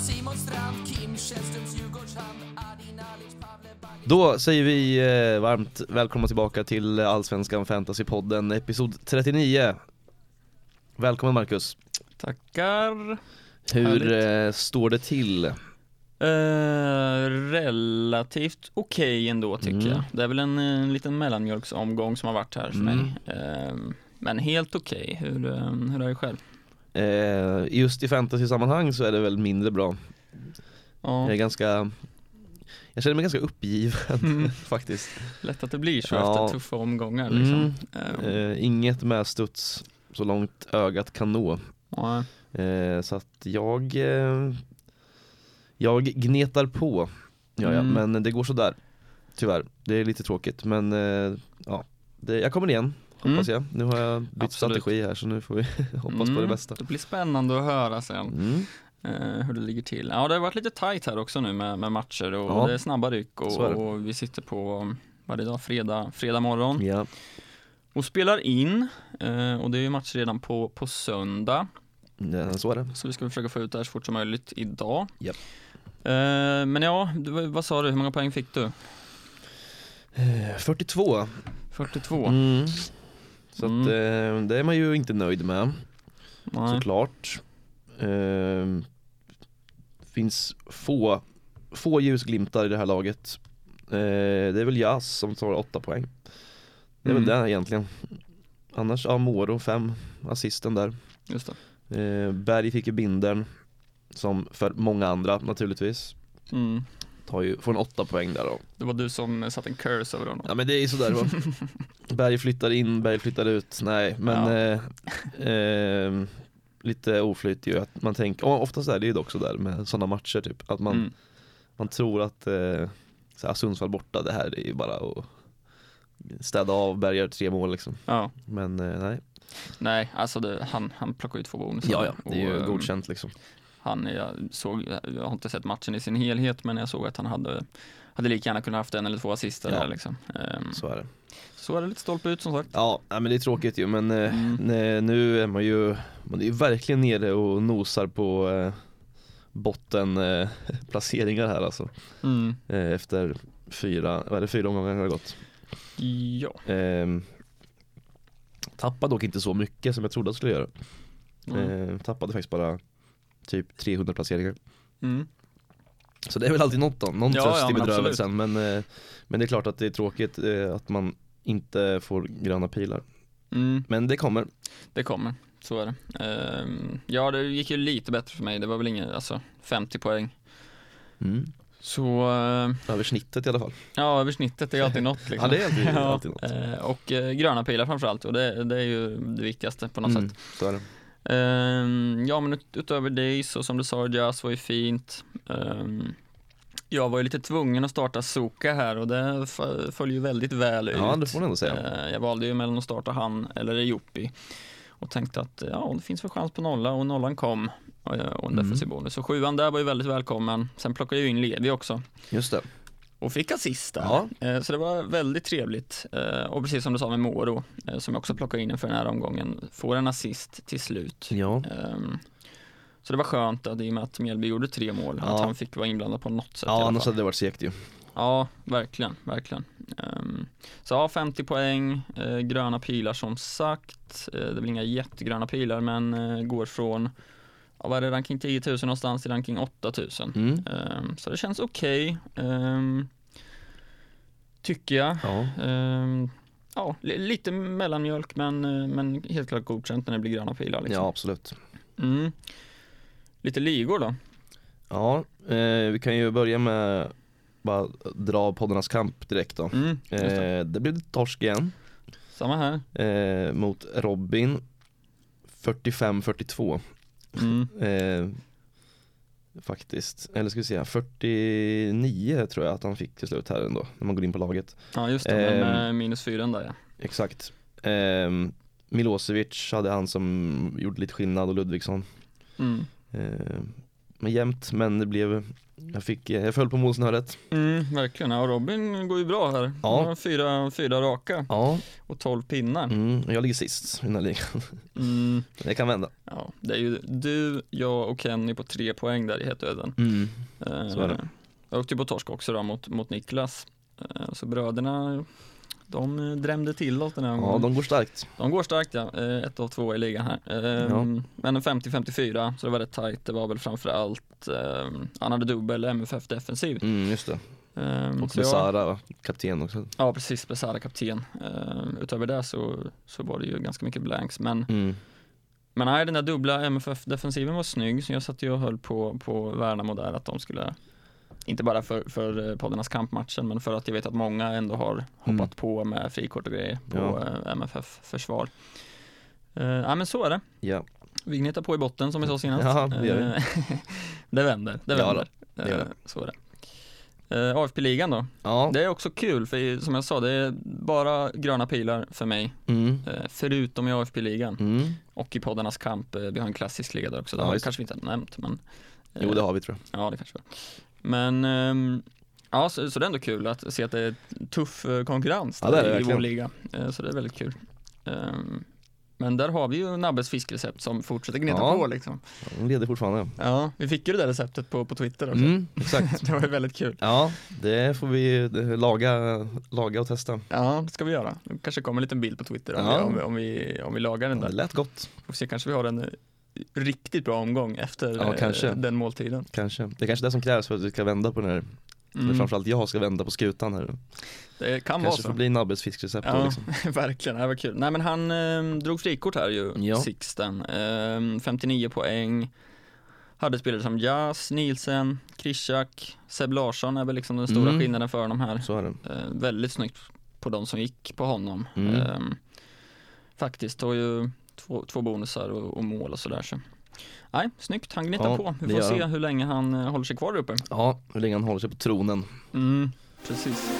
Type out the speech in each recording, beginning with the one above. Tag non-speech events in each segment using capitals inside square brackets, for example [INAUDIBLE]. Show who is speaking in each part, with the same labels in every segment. Speaker 1: Simon Strand, Kim Källströms Djurgårdshamn, Adin Alic, Pavle Bagge
Speaker 2: Då säger vi eh, varmt välkomna tillbaka till Allsvenskan Fantasypodden, episod 39. Välkommen Marcus.
Speaker 3: Tackar.
Speaker 2: Hur eh, står det till?
Speaker 3: Eh, relativt okej ändå tycker
Speaker 2: Mm.
Speaker 3: jag. Det är väl en, eh, liten mellanmjölksomgång som har varit här för
Speaker 2: Mm.
Speaker 3: mig. Eh, men helt okej. Hur, eh, hur är det själv?
Speaker 2: Eh, just i fantasysammanhang så är det väl mindre bra.
Speaker 3: Ja,
Speaker 2: Jag är ganska jag känner mig ganska uppgiven [LAUGHS]
Speaker 3: Mm.
Speaker 2: faktiskt.
Speaker 3: [LAUGHS] lätt att det blir så
Speaker 2: Ja.
Speaker 3: efter tuffa omgångar
Speaker 2: Mm.
Speaker 3: liksom. Eh,
Speaker 2: Eh, inget med studs så långt ögat kan nå.
Speaker 3: ja.
Speaker 2: Eh, så att jag, eh, jag gnetar på. Ja, ja,
Speaker 3: Mm.
Speaker 2: men det går sådär. Tyvärr, det är lite tråkigt men eh, ja, det, jag kommer igen
Speaker 3: Mm.
Speaker 2: hoppas jag. Nu har jag bytt
Speaker 3: Absolut.
Speaker 2: strategi här så nu får vi [LAUGHS] hoppas på det
Speaker 3: Mm.
Speaker 2: bästa.
Speaker 3: Det blir spännande att höra sen.
Speaker 2: Mm.
Speaker 3: eh, hur det ligger till. Ja, det har varit lite tight här också nu med, med matcher och
Speaker 2: Ja.
Speaker 3: det är snabba ryck
Speaker 2: Så
Speaker 3: och,
Speaker 2: är det.
Speaker 3: och vi sitter på varje dag, fredag, fredag morgon
Speaker 2: Ja.
Speaker 3: och spelar in eh, och det är ju match redan på, på söndag
Speaker 2: ja, så är det.
Speaker 3: så vi ska försöka få ut det här så fort som möjligt idag.
Speaker 2: Japp.
Speaker 3: Eh, men ja, du, vad sa du, hur många poäng fick du?
Speaker 2: Eh, 42
Speaker 3: 42?
Speaker 2: Mm. Så
Speaker 3: Mm.
Speaker 2: att eh, det är man ju inte nöjd med
Speaker 3: Nej.
Speaker 2: såklart. Eh, finns få, få ljusglimtar i det här laget. Eh, det är väl Jas som tar åtta poäng. Det är väl
Speaker 3: Mm.
Speaker 2: det egentligen. Annars, ja Moro fem, assisten där.
Speaker 3: Just det.
Speaker 2: Eh, Berg fick ju bindern som för många andra naturligtvis.
Speaker 3: Mm.
Speaker 2: Tar ju, får en åtta poäng där då.
Speaker 3: Det var du som satte en curse över honom.
Speaker 2: Ja men det är ju sådär va.
Speaker 3: [LAUGHS]
Speaker 2: Berg flyttar in, Berg flyttar ut. Nej men eh, eh, lite oflyt ju att man tänker, och oftast är det ju dock sådär med sådana matcher typ. Att man,
Speaker 3: Mm.
Speaker 2: man tror att eh, så här, Sundsvall borta, det här är ju bara att städa av, Berg gör tre mål liksom.
Speaker 3: Ja,
Speaker 2: Men eh, nej,
Speaker 3: nej, alltså det, han, han plockade ju två bonusar.
Speaker 2: det är
Speaker 3: Och,
Speaker 2: ju
Speaker 3: ehm,
Speaker 2: godkänt liksom.
Speaker 3: Han, jag, såg, jag har inte sett matchen i sin helhet, men jag såg att han hade, hade lika gärna kunnat haft en eller två assister
Speaker 2: Ja.
Speaker 3: där liksom. Ehm,
Speaker 2: Så är det.
Speaker 3: så är det lite stolpe ut som sagt.
Speaker 2: Ja, nej, men det är tråkigt ju men eh,
Speaker 3: Mm.
Speaker 2: nej, nu är man ju, man är ju verkligen nere och nosar på eh, bottenplaceringar eh, [LAUGHS] placeringar här alltså.
Speaker 3: Mm.
Speaker 2: Eh, efter fyra, vad är det, fyra omgångar har gått.
Speaker 3: Ja,
Speaker 2: Eh, tappade dock inte så mycket som jag trodde att jag skulle göra.
Speaker 3: mm.
Speaker 2: Eh, tappade faktiskt bara typ 300 placeringar.
Speaker 3: Mm.
Speaker 2: Så det är väl alltid något då, någon
Speaker 3: Ja,
Speaker 2: tröst
Speaker 3: ja,
Speaker 2: i
Speaker 3: men
Speaker 2: bedrövelsen. Men, eh, men det är klart att det är tråkigt eh, att man inte får gröna pilar.
Speaker 3: Mm.
Speaker 2: Men det kommer.
Speaker 3: det kommer. Så är det. Ehm, ja, det gick ju lite bättre för mig. Det var väl inget, alltså 50 poäng.
Speaker 2: Mm.
Speaker 3: Så, eh,
Speaker 2: Över snittet i alla fall.
Speaker 3: ja, över snittet är ju alltid något liksom.
Speaker 2: [LAUGHS] Ja det är alltid,
Speaker 3: [LAUGHS] Ja,
Speaker 2: alltid något.
Speaker 3: eh, och eh, gröna pilar framförallt, och det, det är ju det viktigaste på något sätt.
Speaker 2: Mm, så är det.
Speaker 3: Ehm, ja men ut, utöver det så som du sa, jazz var ju fint. Ehm, jag var ju lite tvungen att starta Soka här och det f- föll ju väldigt väl ut.
Speaker 2: Ja det får man ändå säga.
Speaker 3: Ehm, jag valde ju mellan att starta han eller Joppi och tänkte att ja, det finns väl chans på nolla och nollan kom och, och en
Speaker 2: Mm.
Speaker 3: defensiv bonus. Så sjuan där var ju väldigt välkommen. Sen plockade jag ju in Levi också
Speaker 2: Just det.
Speaker 3: och fick assist där.
Speaker 2: Ja.
Speaker 3: Eh, Så det var väldigt trevligt. Eh, Och precis som du sa med Moro, eh, som jag också plockade in inför den här omgången, får en assist till slut.
Speaker 2: Ja.
Speaker 3: Ehm, Så det var skönt att i och med att Mjällby gjorde tre mål,
Speaker 2: Ja.
Speaker 3: att han fick vara inblandad på något sätt i
Speaker 2: ja
Speaker 3: alla
Speaker 2: annars
Speaker 3: fall.
Speaker 2: hade det varit segt ju.
Speaker 3: Ja, verkligen, verkligen. Ehm, Så ja, 50 poäng, eh, gröna pilar som sagt. Eh, Det är väl inga jättegröna pilar, men eh, går från, ja, vad är det, ranking 10 000 någonstans till ranking 8 000.
Speaker 2: Mm.
Speaker 3: Ehm, Så det känns okej, ehm, tycker jag.
Speaker 2: Ja.
Speaker 3: Ehm, Ja, li- lite mellanmjölk men, eh, men helt klart godkänt när det blir gröna pilar. Liksom.
Speaker 2: ja absolut.
Speaker 3: Mm. Lite ligor då.
Speaker 2: Ja, eh, vi kan ju börja med bara dra poddarnas kamp direkt då.
Speaker 3: Mm, just det.
Speaker 2: Eh, det blev torsk igen
Speaker 3: Samma här.
Speaker 2: eh, mot Robin 45-42
Speaker 3: Mm.
Speaker 2: eh, faktiskt. Eller ska vi säga 49 tror jag att han fick till slut här ändå när man går in på laget.
Speaker 3: Ja just det, den
Speaker 2: Ehm.
Speaker 3: med minus fyran där ja.
Speaker 2: Exakt. Eh, Milosevic hade han som gjorde lite skillnad och Ludvigsson.
Speaker 3: Mm.
Speaker 2: Eh, men jämnt men det blev Jag, fick, eh, jag föll på målsnöret.
Speaker 3: Mm, verkligen, ja, Robin går ju bra här.
Speaker 2: Ja.
Speaker 3: Han har fyra, fyra raka
Speaker 2: Ja,
Speaker 3: och 12 pinnar.
Speaker 2: mm, jag ligger sist i den här ligan.
Speaker 3: Mm,
Speaker 2: Det kan vända.
Speaker 3: ja, det är ju du, jag och Kenny på tre poäng där i hetdöden.
Speaker 2: Mm.
Speaker 3: Eh,
Speaker 2: Så är det.
Speaker 3: Jag åkte ju på torsk också då mot, mot Niklas. Eh, Så bröderna, de eh, drämde till oss den här
Speaker 2: Ja,
Speaker 3: gången.
Speaker 2: de går starkt.
Speaker 3: De går starkt ja, Eh, ett av två i ligan här. Eh,
Speaker 2: Ja.
Speaker 3: Men en 50-54, så det var rätt tajt. Det var väl framförallt, eh, han hade dubbel MFF defensiv.
Speaker 2: Mm, just det.
Speaker 3: Eh,
Speaker 2: Och
Speaker 3: så jag-
Speaker 2: med Sara, kapten också.
Speaker 3: Ja precis, Besara kapten. Eh, utöver det så, så var det ju ganska mycket blanks. Men,
Speaker 2: Mm.
Speaker 3: men nej, den där dubbla MFF-defensiven var snygg, så jag satt ju och höll på, på Värnamo där att de skulle, inte bara för, för eh, poddarnas kampmatchen, men för att jag vet att många ändå har hoppat
Speaker 2: Mm.
Speaker 3: på med frikort och grejer på
Speaker 2: Ja.
Speaker 3: eh, MFF-försvar. Eh, ja men så är det.
Speaker 2: Ja.
Speaker 3: Vignet är på i botten som vi sa senast.
Speaker 2: Ja, det gör vi.
Speaker 3: Eh, [LAUGHS] det vänder, det
Speaker 2: Ja då,
Speaker 3: vänder.
Speaker 2: det gör
Speaker 3: Eh, Så är det. Eh, AFP-ligan då?
Speaker 2: Ja.
Speaker 3: Det är också kul, för som jag sa, det är bara gröna pilar för mig.
Speaker 2: Mm.
Speaker 3: eh, Förutom i AFP-ligan
Speaker 2: Mm.
Speaker 3: och i poddarnas kamp. Eh, Vi har en klassisk liga där också, det
Speaker 2: Ja,
Speaker 3: har vi
Speaker 2: just det.
Speaker 3: kanske vi inte har nämnt. Men, eh,
Speaker 2: Jo, det har vi tror jag.
Speaker 3: Ja, det kanske vi har. Men, ehm, ja, så, så det är ändå kul att se att det är tuff eh, konkurrens
Speaker 2: Ja,
Speaker 3: där
Speaker 2: det är det
Speaker 3: i vår
Speaker 2: verkligen.
Speaker 3: liga. Eh, Så det är väldigt kul. Ehm, Men där har vi ju Nabbes fiskrecept som fortsätter gneta
Speaker 2: Ja.
Speaker 3: på liksom.
Speaker 2: De leder fortfarande.
Speaker 3: Ja, vi fick ju det där receptet på, på Twitter också.
Speaker 2: Mm, exakt.
Speaker 3: Det var ju väldigt kul.
Speaker 2: Ja, det får vi eh, laga, laga och testa.
Speaker 3: Ja, det ska vi göra. Det kanske kommer en liten bild på Twitter om,
Speaker 2: Ja. Mm.
Speaker 3: vi, om, vi, om, vi, om vi lagar den
Speaker 2: Det
Speaker 3: där.
Speaker 2: lät gott,
Speaker 3: Får vi se, kanske vi har en eh, riktigt bra omgång efter
Speaker 2: Ja,
Speaker 3: eh,
Speaker 2: kanske.
Speaker 3: den måltiden.
Speaker 2: kanske. Det är kanske det som krävs för att vi ska vända på den här,
Speaker 3: Mm.
Speaker 2: eller framförallt jag ska vända på skutan här.
Speaker 3: Det kan
Speaker 2: kanske får
Speaker 3: vara så.
Speaker 2: bli Nabbes fiskrecept då
Speaker 3: Ja.
Speaker 2: liksom.
Speaker 3: [LAUGHS] Verkligen, det var kul. Nej men han eh, drog frikort här ju,
Speaker 2: Ja.
Speaker 3: Sixten. Ehm, 59 poäng. Hade spelare som Jas, Nielsen, Krishak, Seb Larsson är väl liksom den stora
Speaker 2: Mm.
Speaker 3: skillnaden för honom här.
Speaker 2: Så är det.
Speaker 3: Eh, väldigt snyggt på de som gick på honom.
Speaker 2: Mm.
Speaker 3: Ehm, faktiskt, har ju två, två bonusar och, och mål och sådär. Så. Nej, snyggt, han gnetar
Speaker 2: Ja,
Speaker 3: på.
Speaker 2: det
Speaker 3: Vi får
Speaker 2: gör
Speaker 3: se
Speaker 2: han.
Speaker 3: hur länge han eh, håller sig kvar där uppe.
Speaker 2: Ja, hur länge han håller sig på tronen.
Speaker 3: Mm, precis.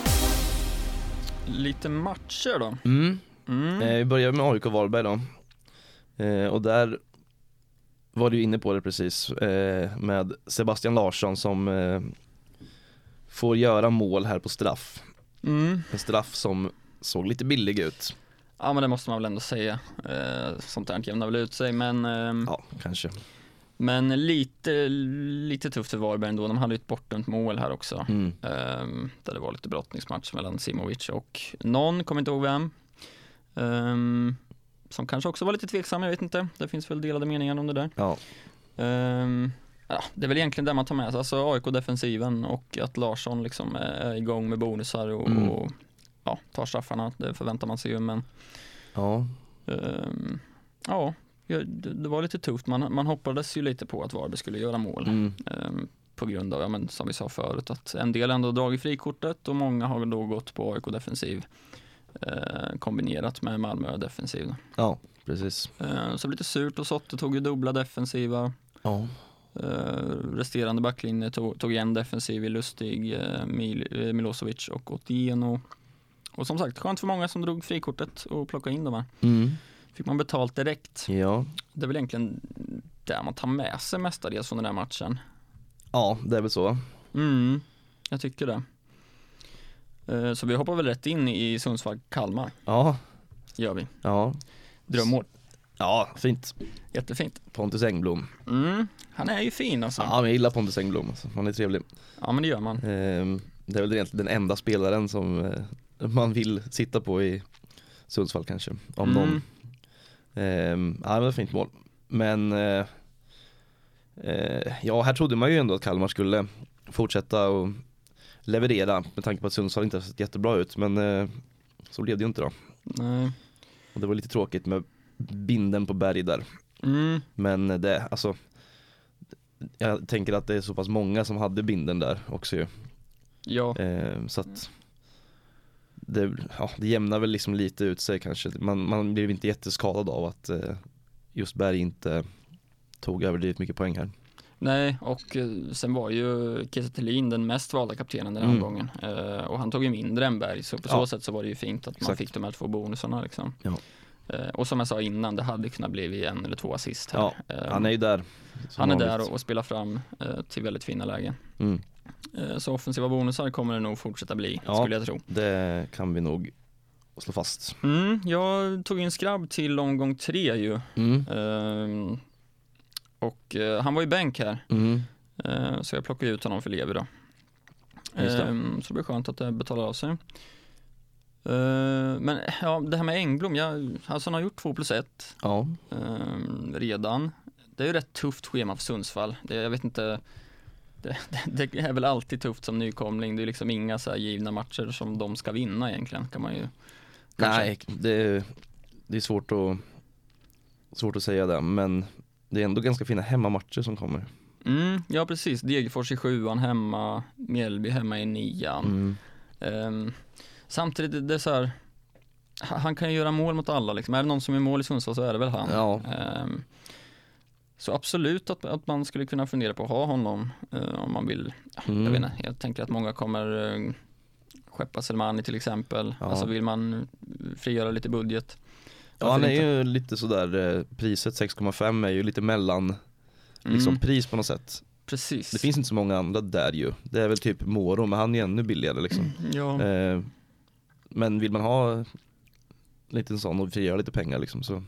Speaker 3: Lite matcher då.
Speaker 2: Mm.
Speaker 3: Mm.
Speaker 2: Eh, vi börjar med AIK Varberg då. Eh, och där var du inne på det precis eh, med Sebastian Larsson som eh, får göra mål här på straff.
Speaker 3: Mm.
Speaker 2: En straff som såg lite billig ut.
Speaker 3: Ja men det måste man väl ändå säga. Eh, sånt där jämnar väl ut sig men, ehm,
Speaker 2: Ja, kanske.
Speaker 3: men lite, lite tufft för Varberg ändå. De hade ju ett bortdömt mål här också.
Speaker 2: Mm.
Speaker 3: Ehm, där det var lite brottningsmatch mellan Simovic och någon, kommer inte ihåg vem. Ehm, som kanske också var lite tveksam, jag vet inte. Det finns väl delade meningar om det där.
Speaker 2: Ja.
Speaker 3: Ehm, ja, det är väl egentligen det man tar med sig, alltså AIK-defensiven och att Larsson liksom är igång med bonusar och,
Speaker 2: Mm.
Speaker 3: och ja, tar straffarna, det förväntar man sig ju. Men
Speaker 2: Ja.
Speaker 3: Ehm, ja, ja, det, det var lite tufft. Man, man hoppades ju lite på att Varberg skulle göra mål.
Speaker 2: Mm.
Speaker 3: Ehm, på grund av, ja, men, som vi sa förut, att en del ändå har dragit frikortet och många har då gått på AIK defensiv. eh, kombinerat med Malmö defensiv.
Speaker 2: ja, precis.
Speaker 3: Ehm, så lite surt och Sotte tog ju dubbla defensiva.
Speaker 2: Ja.
Speaker 3: Ehm, resterande backlinje tog, tog en defensiv i Lustig, eh, Mil- eh, Milosevic och Otieno. Och som sagt, skönt för många som drog frikortet och plockade in dem här.
Speaker 2: Mm.
Speaker 3: Fick man betalt direkt.
Speaker 2: Ja.
Speaker 3: Det är väl egentligen det man tar med sig mestadels från den här matchen.
Speaker 2: ja, det är väl så.
Speaker 3: Mm, jag tycker det. Eh, Så vi hoppar väl rätt in i Sundsvall-Kalmar,
Speaker 2: Ja.
Speaker 3: gör vi.
Speaker 2: Ja,
Speaker 3: Drömmål,
Speaker 2: ja fint.
Speaker 3: jättefint.
Speaker 2: Pontus Engblom.
Speaker 3: Mm, han är ju fin alltså.
Speaker 2: Ja, men jag gillar Pontus Engblom. Alltså. Han är trevlig.
Speaker 3: Ja men det gör man.
Speaker 2: Ehm, Det är väl egentligen den enda spelaren som eh, man vill sitta på i Sundsvall kanske, om
Speaker 3: Mm.
Speaker 2: någon. Ehm, Ja, det var ett fint mål. Men eh, eh, ja, här trodde man ju ändå att Kalmar skulle fortsätta och leverera med tanke på att Sundsvall inte har sett jättebra ut. Men eh, så blev det ju inte då.
Speaker 3: Nej.
Speaker 2: Och det var lite tråkigt med binden på berg där.
Speaker 3: Mm,
Speaker 2: Men det, alltså jag tänker att det är så pass många som hade binden där också ju.
Speaker 3: ja,
Speaker 2: Eh, så att det, ja, det jämnar väl liksom lite ut sig kanske. Man, man blev inte jätteskadad av att eh, just Berg inte tog överdrivet mycket poäng här.
Speaker 3: nej och eh, sen var ju Kiese Thelin den mest valda kaptenen den här
Speaker 2: Mm.
Speaker 3: omgången. Eh, Och han tog ju mindre än Berg, så på så
Speaker 2: Ja.
Speaker 3: sätt så var det ju fint att man
Speaker 2: Exakt.
Speaker 3: fick de här två bonusarna liksom.
Speaker 2: Ja.
Speaker 3: Eh, Och som jag sa innan, det hade kunnat bli en eller två assist här.
Speaker 2: Ja,
Speaker 3: Eh,
Speaker 2: Han är ju där. som
Speaker 3: Han är
Speaker 2: vanligt.
Speaker 3: där och, och spelar fram eh, till väldigt fina lägen.
Speaker 2: Mm.
Speaker 3: Eh, Så offensiva bonusar kommer det nog fortsätta bli,
Speaker 2: Ja.
Speaker 3: skulle jag tro.
Speaker 2: Det kan vi nog slå fast.
Speaker 3: Mm, jag tog in Skrabb till omgång tre ju.
Speaker 2: Mm.
Speaker 3: Ehm, och eh, han var ju bänk här,
Speaker 2: Mm.
Speaker 3: eh, så jag plockade ut honom för Levi då.
Speaker 2: Just det.
Speaker 3: Ehm, så det blir skönt att det betalar av sig. Ehm, men ja, det här med Engblom, jag, alltså han har gjort 2 plus 1
Speaker 2: Ja.
Speaker 3: Ehm, redan. Det är ju rätt tufft schema för Sundsvall. Det, jag vet inte, det, [LAUGHS] det, det är väl alltid tufft som nykomling. Det är liksom inga så här givna matcher som de ska vinna egentligen kan man ju kanske-
Speaker 2: Nej, det är, det är svårt, att, svårt att säga det men det är ändå ganska fina hemmamatcher som kommer.
Speaker 3: Mm, ja precis, Degerfors i sjuan hemma, Mjällby hemma i nian.
Speaker 2: Mm.
Speaker 3: Ehm, samtidigt, det är så här, han han kan ju göra mål mot alla liksom. Är det någon som är mål i Sundsvall så är det väl han.
Speaker 2: Ja.
Speaker 3: Ehm, så absolut att, att man skulle kunna fundera på att ha honom eh, om man vill.
Speaker 2: Mm.
Speaker 3: Jag vet inte, jag tänker att många kommer uh, skeppa Selmani till exempel.
Speaker 2: Ja.
Speaker 3: Alltså vill man frigöra lite budget.
Speaker 2: Ja
Speaker 3: Varför
Speaker 2: han är
Speaker 3: inte?
Speaker 2: ju lite sådär, eh, priset 6,5 är ju lite mellan
Speaker 3: Mm,
Speaker 2: liksom, pris på något sätt.
Speaker 3: precis.
Speaker 2: Det finns inte så många andra där ju. Det är väl typ Moro men han är ännu billigare liksom.
Speaker 3: ja.
Speaker 2: Eh, men vill man ha lite en sån och frigöra lite pengar liksom så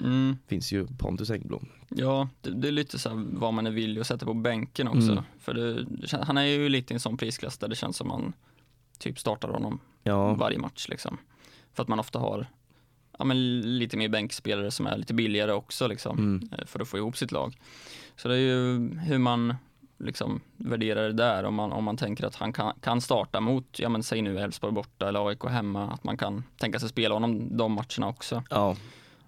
Speaker 3: mm.
Speaker 2: finns ju Pontus Engblom.
Speaker 3: Ja, det, det är lite så här vad man är villig att sätta på bänken också.
Speaker 2: Mm.
Speaker 3: För det, det, kän- han är ju lite i en sån prisklass där det känns som man typ startar honom
Speaker 2: Ja,
Speaker 3: varje match liksom. För att man ofta har ja, men lite mer bänkspelare som är lite billigare också liksom,
Speaker 2: Mm.
Speaker 3: eh, för att få ihop sitt lag. Så det är ju hur man liksom värderar det där om man, om man tänker att han kan, kan starta mot, ja men säg nu Elfsborg borta eller AIK hemma, att man kan tänka sig spela honom de matcherna också.
Speaker 2: ja.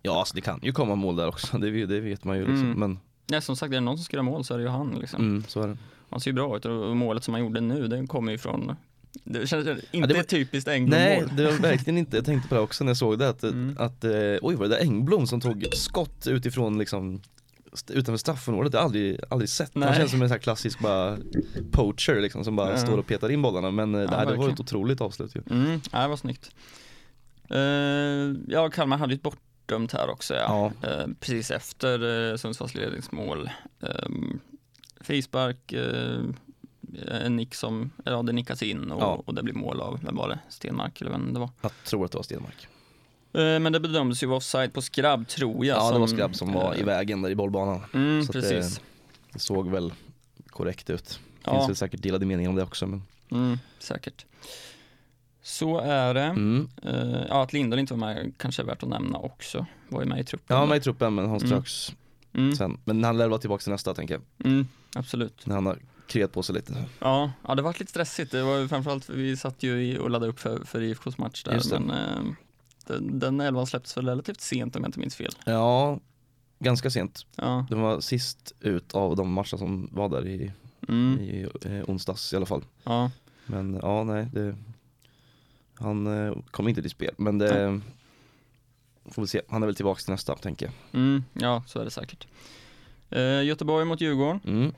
Speaker 2: ja alltså det kan ju komma mål där också, [LAUGHS] det, vet- det vet man ju liksom.
Speaker 3: Mm.
Speaker 2: Men
Speaker 3: Nej, som sagt, är det någon som ska göra mål så är det ju han liksom.
Speaker 2: mm, så är det.
Speaker 3: Han ser ju bra ut och målet som han gjorde nu, det kommer ju från det känns inte
Speaker 2: det var-
Speaker 3: typiskt Engblom-mål.
Speaker 2: Nej det var verkligen inte, jag tänkte på det också när jag såg det att,
Speaker 3: Mm.
Speaker 2: att eh, oj var det där Engblom som tog skott utifrån liksom st- utanför straffområdet, det har jag aldrig, aldrig sett. Han
Speaker 3: Nej.
Speaker 2: känns som en sån här klassisk bara poacher liksom som bara
Speaker 3: Ja.
Speaker 2: står och petar in bollarna men eh, nej, det var
Speaker 3: verkligen.
Speaker 2: ett otroligt avslut ju.
Speaker 3: Mm, nej, det var snyggt. Uh, ja, Kalmar hade ju ett bortdömt här också ja. Eh, precis efter uh, Sundsvalls ledningsmål. Uh, frispark, eh, en nick som, ja det nickas in och,
Speaker 2: Ja.
Speaker 3: och det blir mål av, vem var det? Stenmark eller vem det var.
Speaker 2: Jag tror att det var Stenmark.
Speaker 3: Eh, men det bedömdes ju vara offside på skrabb tror jag.
Speaker 2: Ja, det var Skrabb som var
Speaker 3: eh,
Speaker 2: i vägen där i bollbanan.
Speaker 3: Mm,
Speaker 2: Så att det-
Speaker 3: precis.
Speaker 2: Det såg väl korrekt ut. Finns
Speaker 3: Ja.
Speaker 2: väl säkert delade meningar om det också men.
Speaker 3: Mm, säkert. Så är det.
Speaker 2: Mm.
Speaker 3: Eh, ja, att Lindahl inte var med kanske är värt att nämna också. Var ju med i truppen.
Speaker 2: Ja, han var i truppen men han
Speaker 3: Mm.
Speaker 2: ströks
Speaker 3: mm,
Speaker 2: sen. Men han lär vara tillbaka till nästa tänker jag.
Speaker 3: mm, absolut.
Speaker 2: När han har kryat på sig lite.
Speaker 3: Ja, ja, det var lite stressigt. Det var ju framförallt, för vi satt ju i- och laddade upp för, för IFKs match där.
Speaker 2: Just det.
Speaker 3: Men, eh, den, den elvan släpptes väl relativt sent om jag inte minns fel.
Speaker 2: Ja, ganska sent.
Speaker 3: Ja,
Speaker 2: De var sist ut av de matcher som var där i,
Speaker 3: mm,
Speaker 2: i eh, onsdags i alla fall.
Speaker 3: ja,
Speaker 2: Men ja, nej. Det, han eh, kom inte till spel, men det får vi se. Han är väl tillbaka till nästa tänker jag.
Speaker 3: mm, ja, så är det säkert. Eh, Göteborg mot Djurgården.
Speaker 2: Mm.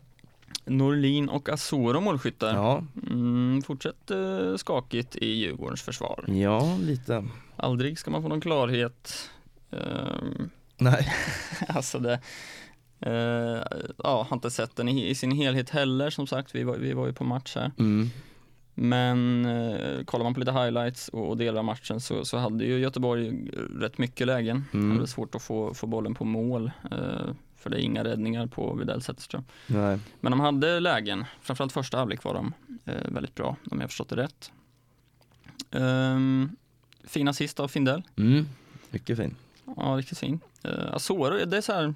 Speaker 3: Norlin och Asoro målskyttar.
Speaker 2: Ja,
Speaker 3: Mm, fortsatt eh, skakigt i Djurgårdens försvar.
Speaker 2: ja, lite.
Speaker 3: Aldrig ska man få någon klarhet. Ehm, [LAUGHS]
Speaker 2: Nej,
Speaker 3: alltså det, eh, ja, har inte sett den i, i sin helhet heller som sagt. Vi var, vi var ju på match här.
Speaker 2: mm.
Speaker 3: Men eh, kollar man på lite highlights och, och delar av matchen så, så hade ju Göteborg eh, rätt mycket lägen.
Speaker 2: Mm.
Speaker 3: Hade svårt att få, få bollen på mål. Eh, för det är inga räddningar på Widell Zetterström.
Speaker 2: nej.
Speaker 3: Men de hade lägen, framförallt första halvlek var de eh, väldigt bra om jag förstått det rätt. Ehm, fin assist av Findell.
Speaker 2: Mm. Mycket fin.
Speaker 3: Ja, riktigt fin. Uh, Asoro, det är så här,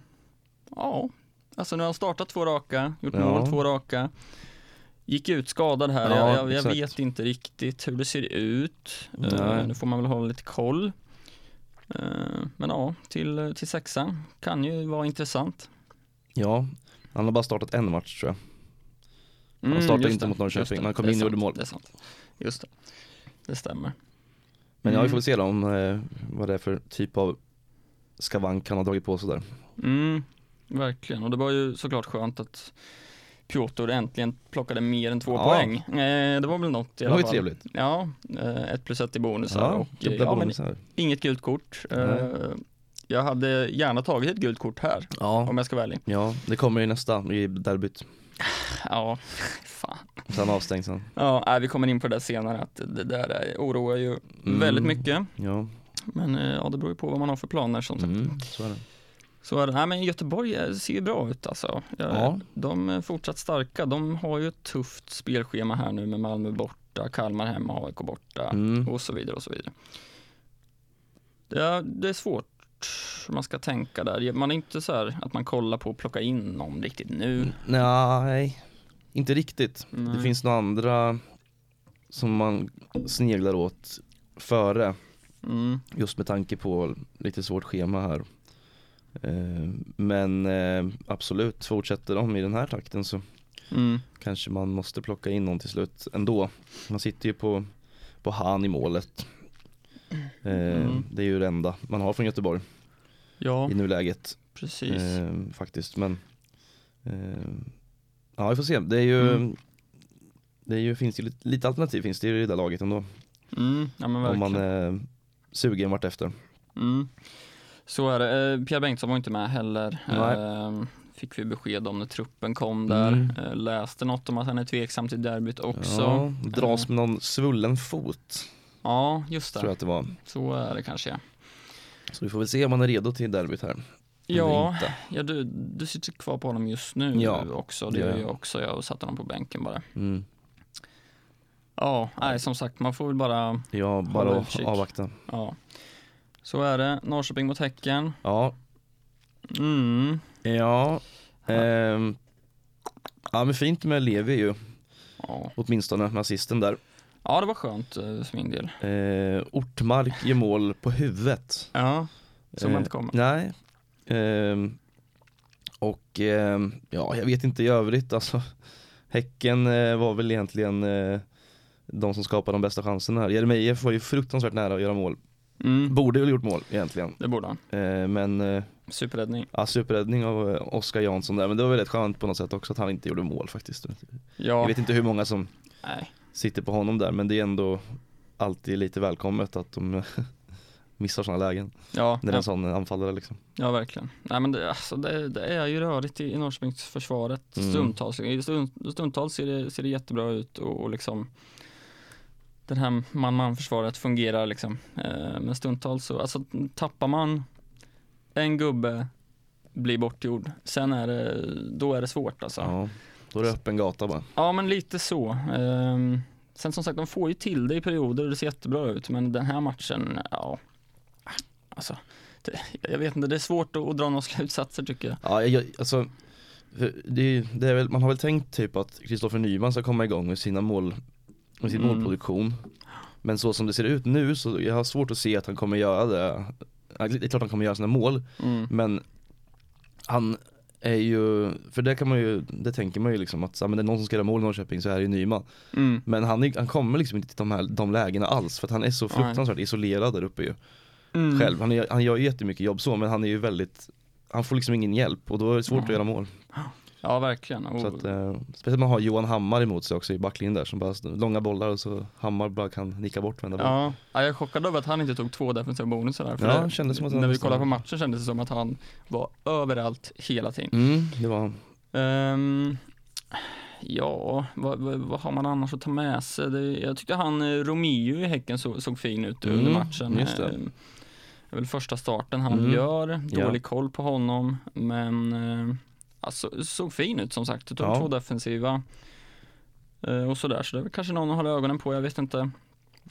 Speaker 3: ja, alltså nu har han startat två raka, gjort
Speaker 2: Ja.
Speaker 3: mål två raka. Gick ut skadad här,
Speaker 2: Ja,
Speaker 3: jag, jag, jag
Speaker 2: exakt.
Speaker 3: vet inte riktigt hur det ser ut. Eh,
Speaker 2: Nej.
Speaker 3: nu får man väl hålla lite koll. Eh, men ja, till, till sexan kan ju vara intressant.
Speaker 2: Ja, han har bara startat en match tror jag.
Speaker 3: Mm,
Speaker 2: startade
Speaker 3: just
Speaker 2: inte
Speaker 3: det,
Speaker 2: mot Norrköping,
Speaker 3: just det,
Speaker 2: han kom
Speaker 3: det är
Speaker 2: in och gjorde
Speaker 3: sant,
Speaker 2: mål.
Speaker 3: Det är sant. Just det, det stämmer.
Speaker 2: Men ja, vi får
Speaker 3: Mm.
Speaker 2: väl se då om eh, vad det är för typ av skavank han har dragit på sig där.
Speaker 3: Mm, verkligen. Och det var ju såklart skönt att Piotr äntligen plockade mer än två
Speaker 2: Ja.
Speaker 3: poäng. Eh, det var väl något i
Speaker 2: Det
Speaker 3: alla
Speaker 2: var ju
Speaker 3: fall.
Speaker 2: trevligt.
Speaker 3: Ja, eh, ett plus ett i bonusar och eh,
Speaker 2: dubbla
Speaker 3: ja, men
Speaker 2: bonusar.
Speaker 3: inget gult kort. Eh,
Speaker 2: Nej.
Speaker 3: jag hade gärna tagit ett gult kort här,
Speaker 2: Ja.
Speaker 3: om jag ska vara ärlig.
Speaker 2: ja, det kommer i nästa, i derbyt.
Speaker 3: Ja, [LAUGHS] fan.
Speaker 2: Så han avstängd sen.
Speaker 3: Ja, nej, vi kommer in på det där senare att det där är, oroar ju
Speaker 2: Mm.
Speaker 3: väldigt mycket.
Speaker 2: Ja,
Speaker 3: Men eh, ja, det beror ju på vad man har för planer som sagt.
Speaker 2: mm, så är det.
Speaker 3: Så är det, nej, men Göteborg eh, ser ju bra ut alltså. Jag-
Speaker 2: Ja.
Speaker 3: De är fortsatt starka. De har ju ett tufft spelschema här nu med Malmö borta, Kalmar hemma, AIK borta
Speaker 2: Mm.
Speaker 3: och så vidare och så vidare. Det är, det är svårt man ska tänka där. Man är inte så här att man kollar på att plocka in någon riktigt nu.
Speaker 2: Nej, inte riktigt.
Speaker 3: Nej.
Speaker 2: Mm. Det finns några andra som man sneglar åt före.
Speaker 3: Mm.
Speaker 2: Just med tanke på lite svårt schema här. Eh, Men eh, absolut, fortsätter de i den här takten så
Speaker 3: Mm.
Speaker 2: kanske man måste plocka in någon till slut ändå. Man sitter ju på, på Han i målet. Eh,
Speaker 3: Mm.
Speaker 2: Det är ju det enda man har från Göteborg
Speaker 3: Ja,
Speaker 2: i nuläget
Speaker 3: precis.
Speaker 2: eh, faktiskt. Men eh, ja, vi får se. Det är ju
Speaker 3: Mm.
Speaker 2: Det är ju, finns ju lite, lite alternativ finns det ju i det där laget ändå.
Speaker 3: Mm. Ja, men
Speaker 2: Om
Speaker 3: verkligen.
Speaker 2: man eh, är sugen vart efter.
Speaker 3: Mm. Så är det. Eh, Pierre Bengtsson var inte med heller.
Speaker 2: Nej.
Speaker 3: Eh, Fick vi besked om när truppen kom där.
Speaker 2: Mm.
Speaker 3: Eh, Läste något om att han är tveksam till derbyt också. Ja,
Speaker 2: Ja, dras med någon svullen fot,
Speaker 3: just det.
Speaker 2: tror jag att det var.
Speaker 3: Så är det kanske. ja.
Speaker 2: Så vi får väl se om man är redo till derbyt här. Eller
Speaker 3: Ja,
Speaker 2: inte.
Speaker 3: ja du, du sitter kvar på honom just nu
Speaker 2: Ja,
Speaker 3: också. Det
Speaker 2: det gör
Speaker 3: gör
Speaker 2: jag.
Speaker 3: jag också. Jag satte honom på bänken bara.
Speaker 2: Mm.
Speaker 3: Ja, nej, som sagt, man får väl bara...
Speaker 2: Ja,
Speaker 3: Håller
Speaker 2: bara att
Speaker 3: utkik.
Speaker 2: avvakta.
Speaker 3: Ja. Så är det. Norrköping mot Häcken.
Speaker 2: Ja,
Speaker 3: Mm.
Speaker 2: ja. Ehm. Ja men fint med Levi ju,
Speaker 3: Ja.
Speaker 2: åtminstone med assisten där.
Speaker 3: ja, det var skönt eh, för min del.
Speaker 2: Eh, Ortmark gör mål på huvudet.
Speaker 3: Ja, som
Speaker 2: Eh,
Speaker 3: inte kommer.
Speaker 2: Nej. Ehm, och ehm, ja, jag vet inte i övrigt alltså. Häcken eh, var väl egentligen eh, de som skapade de bästa chanserna här. Jeremejeff var ju fruktansvärt nära att göra mål.
Speaker 3: Mm.
Speaker 2: Borde väl gjort mål egentligen.
Speaker 3: Det borde han.
Speaker 2: Eh, men eh,
Speaker 3: Superräddning.
Speaker 2: ja, superräddning av eh, Oskar Jansson där. Men det var väl rätt skönt på något sätt också att han inte gjorde mål faktiskt. Jag
Speaker 3: Ja,
Speaker 2: vet inte hur många som
Speaker 3: nej.
Speaker 2: sitter på honom där men det är ändå alltid lite välkommet att de [LAUGHS] missar sådana lägen.
Speaker 3: Ja,
Speaker 2: När det är
Speaker 3: ja,
Speaker 2: en sån anfallare liksom.
Speaker 3: ja, verkligen. Nej, men det, alltså, det, det är ju rörigt i, i Norrköpingsförsvaret
Speaker 2: Mm.
Speaker 3: stundtals. I stund, stundtals ser det, ser det jättebra ut och, och liksom den här man-man-försvaret fungerar liksom. Eh, men stundtals så, alltså tappar man en gubbe blir bortgjord. Sen är det, då är det svårt alltså. Ja,
Speaker 2: Ja, då är det öppen gata bara.
Speaker 3: men lite så. Ehm, sen som sagt, de får ju till det i perioder och det ser jättebra ut. Men den här matchen, ja. Alltså, det, jag vet inte, det är svårt att, att dra några [LAUGHS] slutsatser tycker jag.
Speaker 2: Ja, jag, alltså, för det, är- det är väl, man har väl tänkt typ att Kristoffer Nyman ska komma igång med sina mål, med sin
Speaker 3: Mm.
Speaker 2: målproduktion. Men så som det ser ut nu så jag har svårt att se att han kommer göra det. Ja, Det är klart han kommer göra sina mål,
Speaker 3: Mm.
Speaker 2: men han är ju, för det kan man ju, det tänker man ju liksom att ja, men det är någon som ska göra mål i Norrköping så är det ju Nyman.
Speaker 3: Mm.
Speaker 2: Men han, är, han kommer liksom inte till de här de lägena alls för att han är så
Speaker 3: Nej.
Speaker 2: fruktansvärt isolerad där uppe ju
Speaker 3: Mm.
Speaker 2: själv. Han, är, han gör ju jättemycket jobb så men han är ju väldigt, han får liksom ingen hjälp och då är det svårt
Speaker 3: Ja.
Speaker 2: att göra mål.
Speaker 3: Ja, verkligen.
Speaker 2: Så
Speaker 3: Och,
Speaker 2: att, eh, speciellt man har Johan Hammar emot sig också i backlinjen där som bara långa bollar och så Hammar bara kan nicka bort vända boll.
Speaker 3: ja. ja, jag är chockad över att han inte tog två defensiva bonusar där. För
Speaker 2: Ja,
Speaker 3: det-
Speaker 2: kändes som att han
Speaker 3: när vi
Speaker 2: nästan-
Speaker 3: kollade på matchen kändes det som att han var överallt hela tiden.
Speaker 2: Mm, det var han.
Speaker 3: Ehm, ja, vad, vad, vad har man annars att ta med sig? Det, jag tyckte han eh, Romeo i Häcken så, såg fin ut
Speaker 2: Mm,
Speaker 3: under matchen.
Speaker 2: just det.
Speaker 3: Ehm, det är väl första starten han
Speaker 2: Mm.
Speaker 3: gör,
Speaker 2: Ja.
Speaker 3: dålig koll på honom, men eh, alltså, såg fin ut som sagt. Tog
Speaker 2: Ja.
Speaker 3: två defensiva eh, och sådär, så det är väl kanske någon att hålla ögonen på, jag vet inte.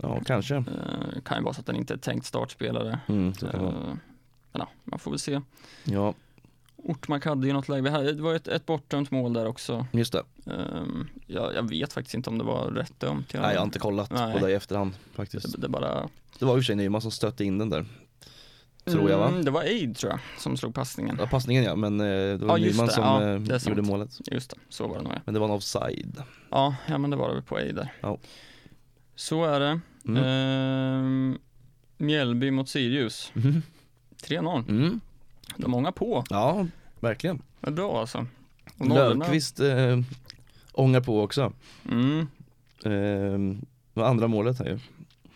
Speaker 2: Ja, kanske.
Speaker 3: Eh, kan ju vara så att han inte är tänkt startspelare.
Speaker 2: Mm, så kan det vara.
Speaker 3: Eh, men ja, man får väl se.
Speaker 2: Ja,
Speaker 3: Ortmark hade ju något läge, Vi hade- det var ju ett, ett bortdömt mål där också.
Speaker 2: just det.
Speaker 3: Ehm, jag, jag vet faktiskt inte om det var rätt dömt.
Speaker 2: Nej, jag har inte kollat
Speaker 3: Nej.
Speaker 2: på det i efterhand faktiskt.
Speaker 3: det, det bara...
Speaker 2: Det var i och för sig Nyman som stötte in den där. Tror jag, va?
Speaker 3: Mm, det var Aid tror jag, som slog passningen.
Speaker 2: Ja, passningen ja, men eh, det
Speaker 3: Ja,
Speaker 2: var
Speaker 3: just
Speaker 2: Nyman
Speaker 3: det.
Speaker 2: som
Speaker 3: Ja,
Speaker 2: eh,
Speaker 3: det är sant.
Speaker 2: gjorde målet.
Speaker 3: Just det, så var det nog ja.
Speaker 2: Men det var en offside.
Speaker 3: Ja, ja men det var det väl på Aid där.
Speaker 2: Ja.
Speaker 3: Så är det.
Speaker 2: Mm.
Speaker 3: Ehm, Mjällby mot Sirius,
Speaker 2: Mhm.
Speaker 3: 3-0.
Speaker 2: Mm.
Speaker 3: De har många på,
Speaker 2: Ja, verkligen.
Speaker 3: det är bra alltså. Och nollorna-
Speaker 2: Löfqvist eh, ångar på också.
Speaker 3: Mm,
Speaker 2: Eh, det var andra målet här ju.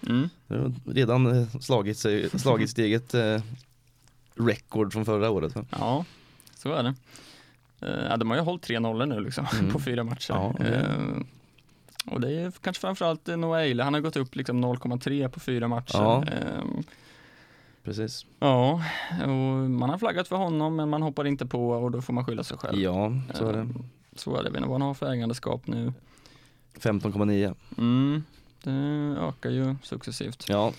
Speaker 3: mm.
Speaker 2: Det har redan eh, slagit, sig, slagit sitt eget eh, record från förra året. Va?
Speaker 3: Ja, så är det. Eh, Ja, de har ju hållit 3-0 nu liksom [LAUGHS]
Speaker 2: Mm.
Speaker 3: på fyra matcher.
Speaker 2: Ja, det-
Speaker 3: Eh, eh, kanske framförallt eh, Noel, han har gått upp liksom 0,3 på fyra matcher.
Speaker 2: Ja.
Speaker 3: Ehm,
Speaker 2: Precis.
Speaker 3: ja, och man har flaggat för honom men man hoppar inte på och då får man skylla sig själv.
Speaker 2: Ja, så är det.
Speaker 3: Ehm, Så är det, jag vet inte vad han har för ägandeskap nu.
Speaker 2: 15,9.
Speaker 3: Mm, det ökar ju successivt.
Speaker 2: Ja.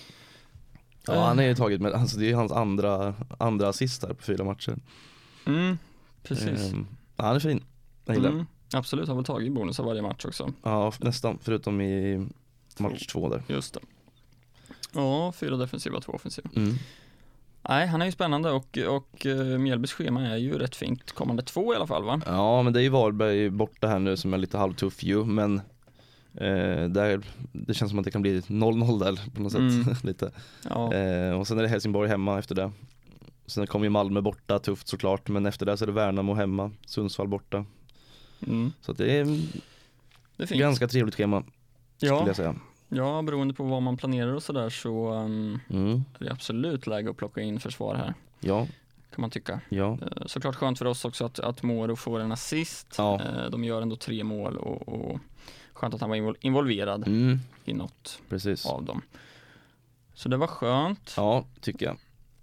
Speaker 2: Ja han är ju taget med, alltså det är ju hans andra, andra assist här på fyra matcher.
Speaker 3: Mm, precis.
Speaker 2: Ehm, ja, han är fin. Jag gillar
Speaker 3: Mm, absolut, har väl tagit bonusar varje match också.
Speaker 2: Ja f- nästan, förutom i match två där.
Speaker 3: Just det. Ja, fyra defensiva, två offensiva.
Speaker 2: Mm.
Speaker 3: Nej, han är ju spännande och, och eh, Mjällbys schema är ju rätt fint kommande två i alla fall va?
Speaker 2: Ja men det är ju Varberg borta här nu som är lite halvtuff ju men eh, där, det känns som att det kan bli 0-0 där på något sätt.
Speaker 3: Mm.
Speaker 2: [LAUGHS] lite.
Speaker 3: Ja,
Speaker 2: Eh, och sen är det Helsingborg hemma efter det. Sen kommer ju Malmö borta, tufft såklart men efter det så är det Värnamo hemma, Sundsvall borta.
Speaker 3: mm,
Speaker 2: Så att det är mm,
Speaker 3: det är fint.
Speaker 2: ganska trevligt schema skulle
Speaker 3: ja,
Speaker 2: jag säga.
Speaker 3: ja, beroende på vad man planerar och sådär så um,
Speaker 2: Mm.
Speaker 3: är det absolut läge att plocka in försvar här,
Speaker 2: Ja,
Speaker 3: kan man tycka.
Speaker 2: ja,
Speaker 3: Eh, Såklart skönt för oss också att, att Moro får en assist.
Speaker 2: Ja.
Speaker 3: Eh, De gör ändå tre mål och, och skönt att han var invol- involverad
Speaker 2: mm,
Speaker 3: i något
Speaker 2: precis.
Speaker 3: av dem. Så det var skönt.
Speaker 2: Ja, tycker jag.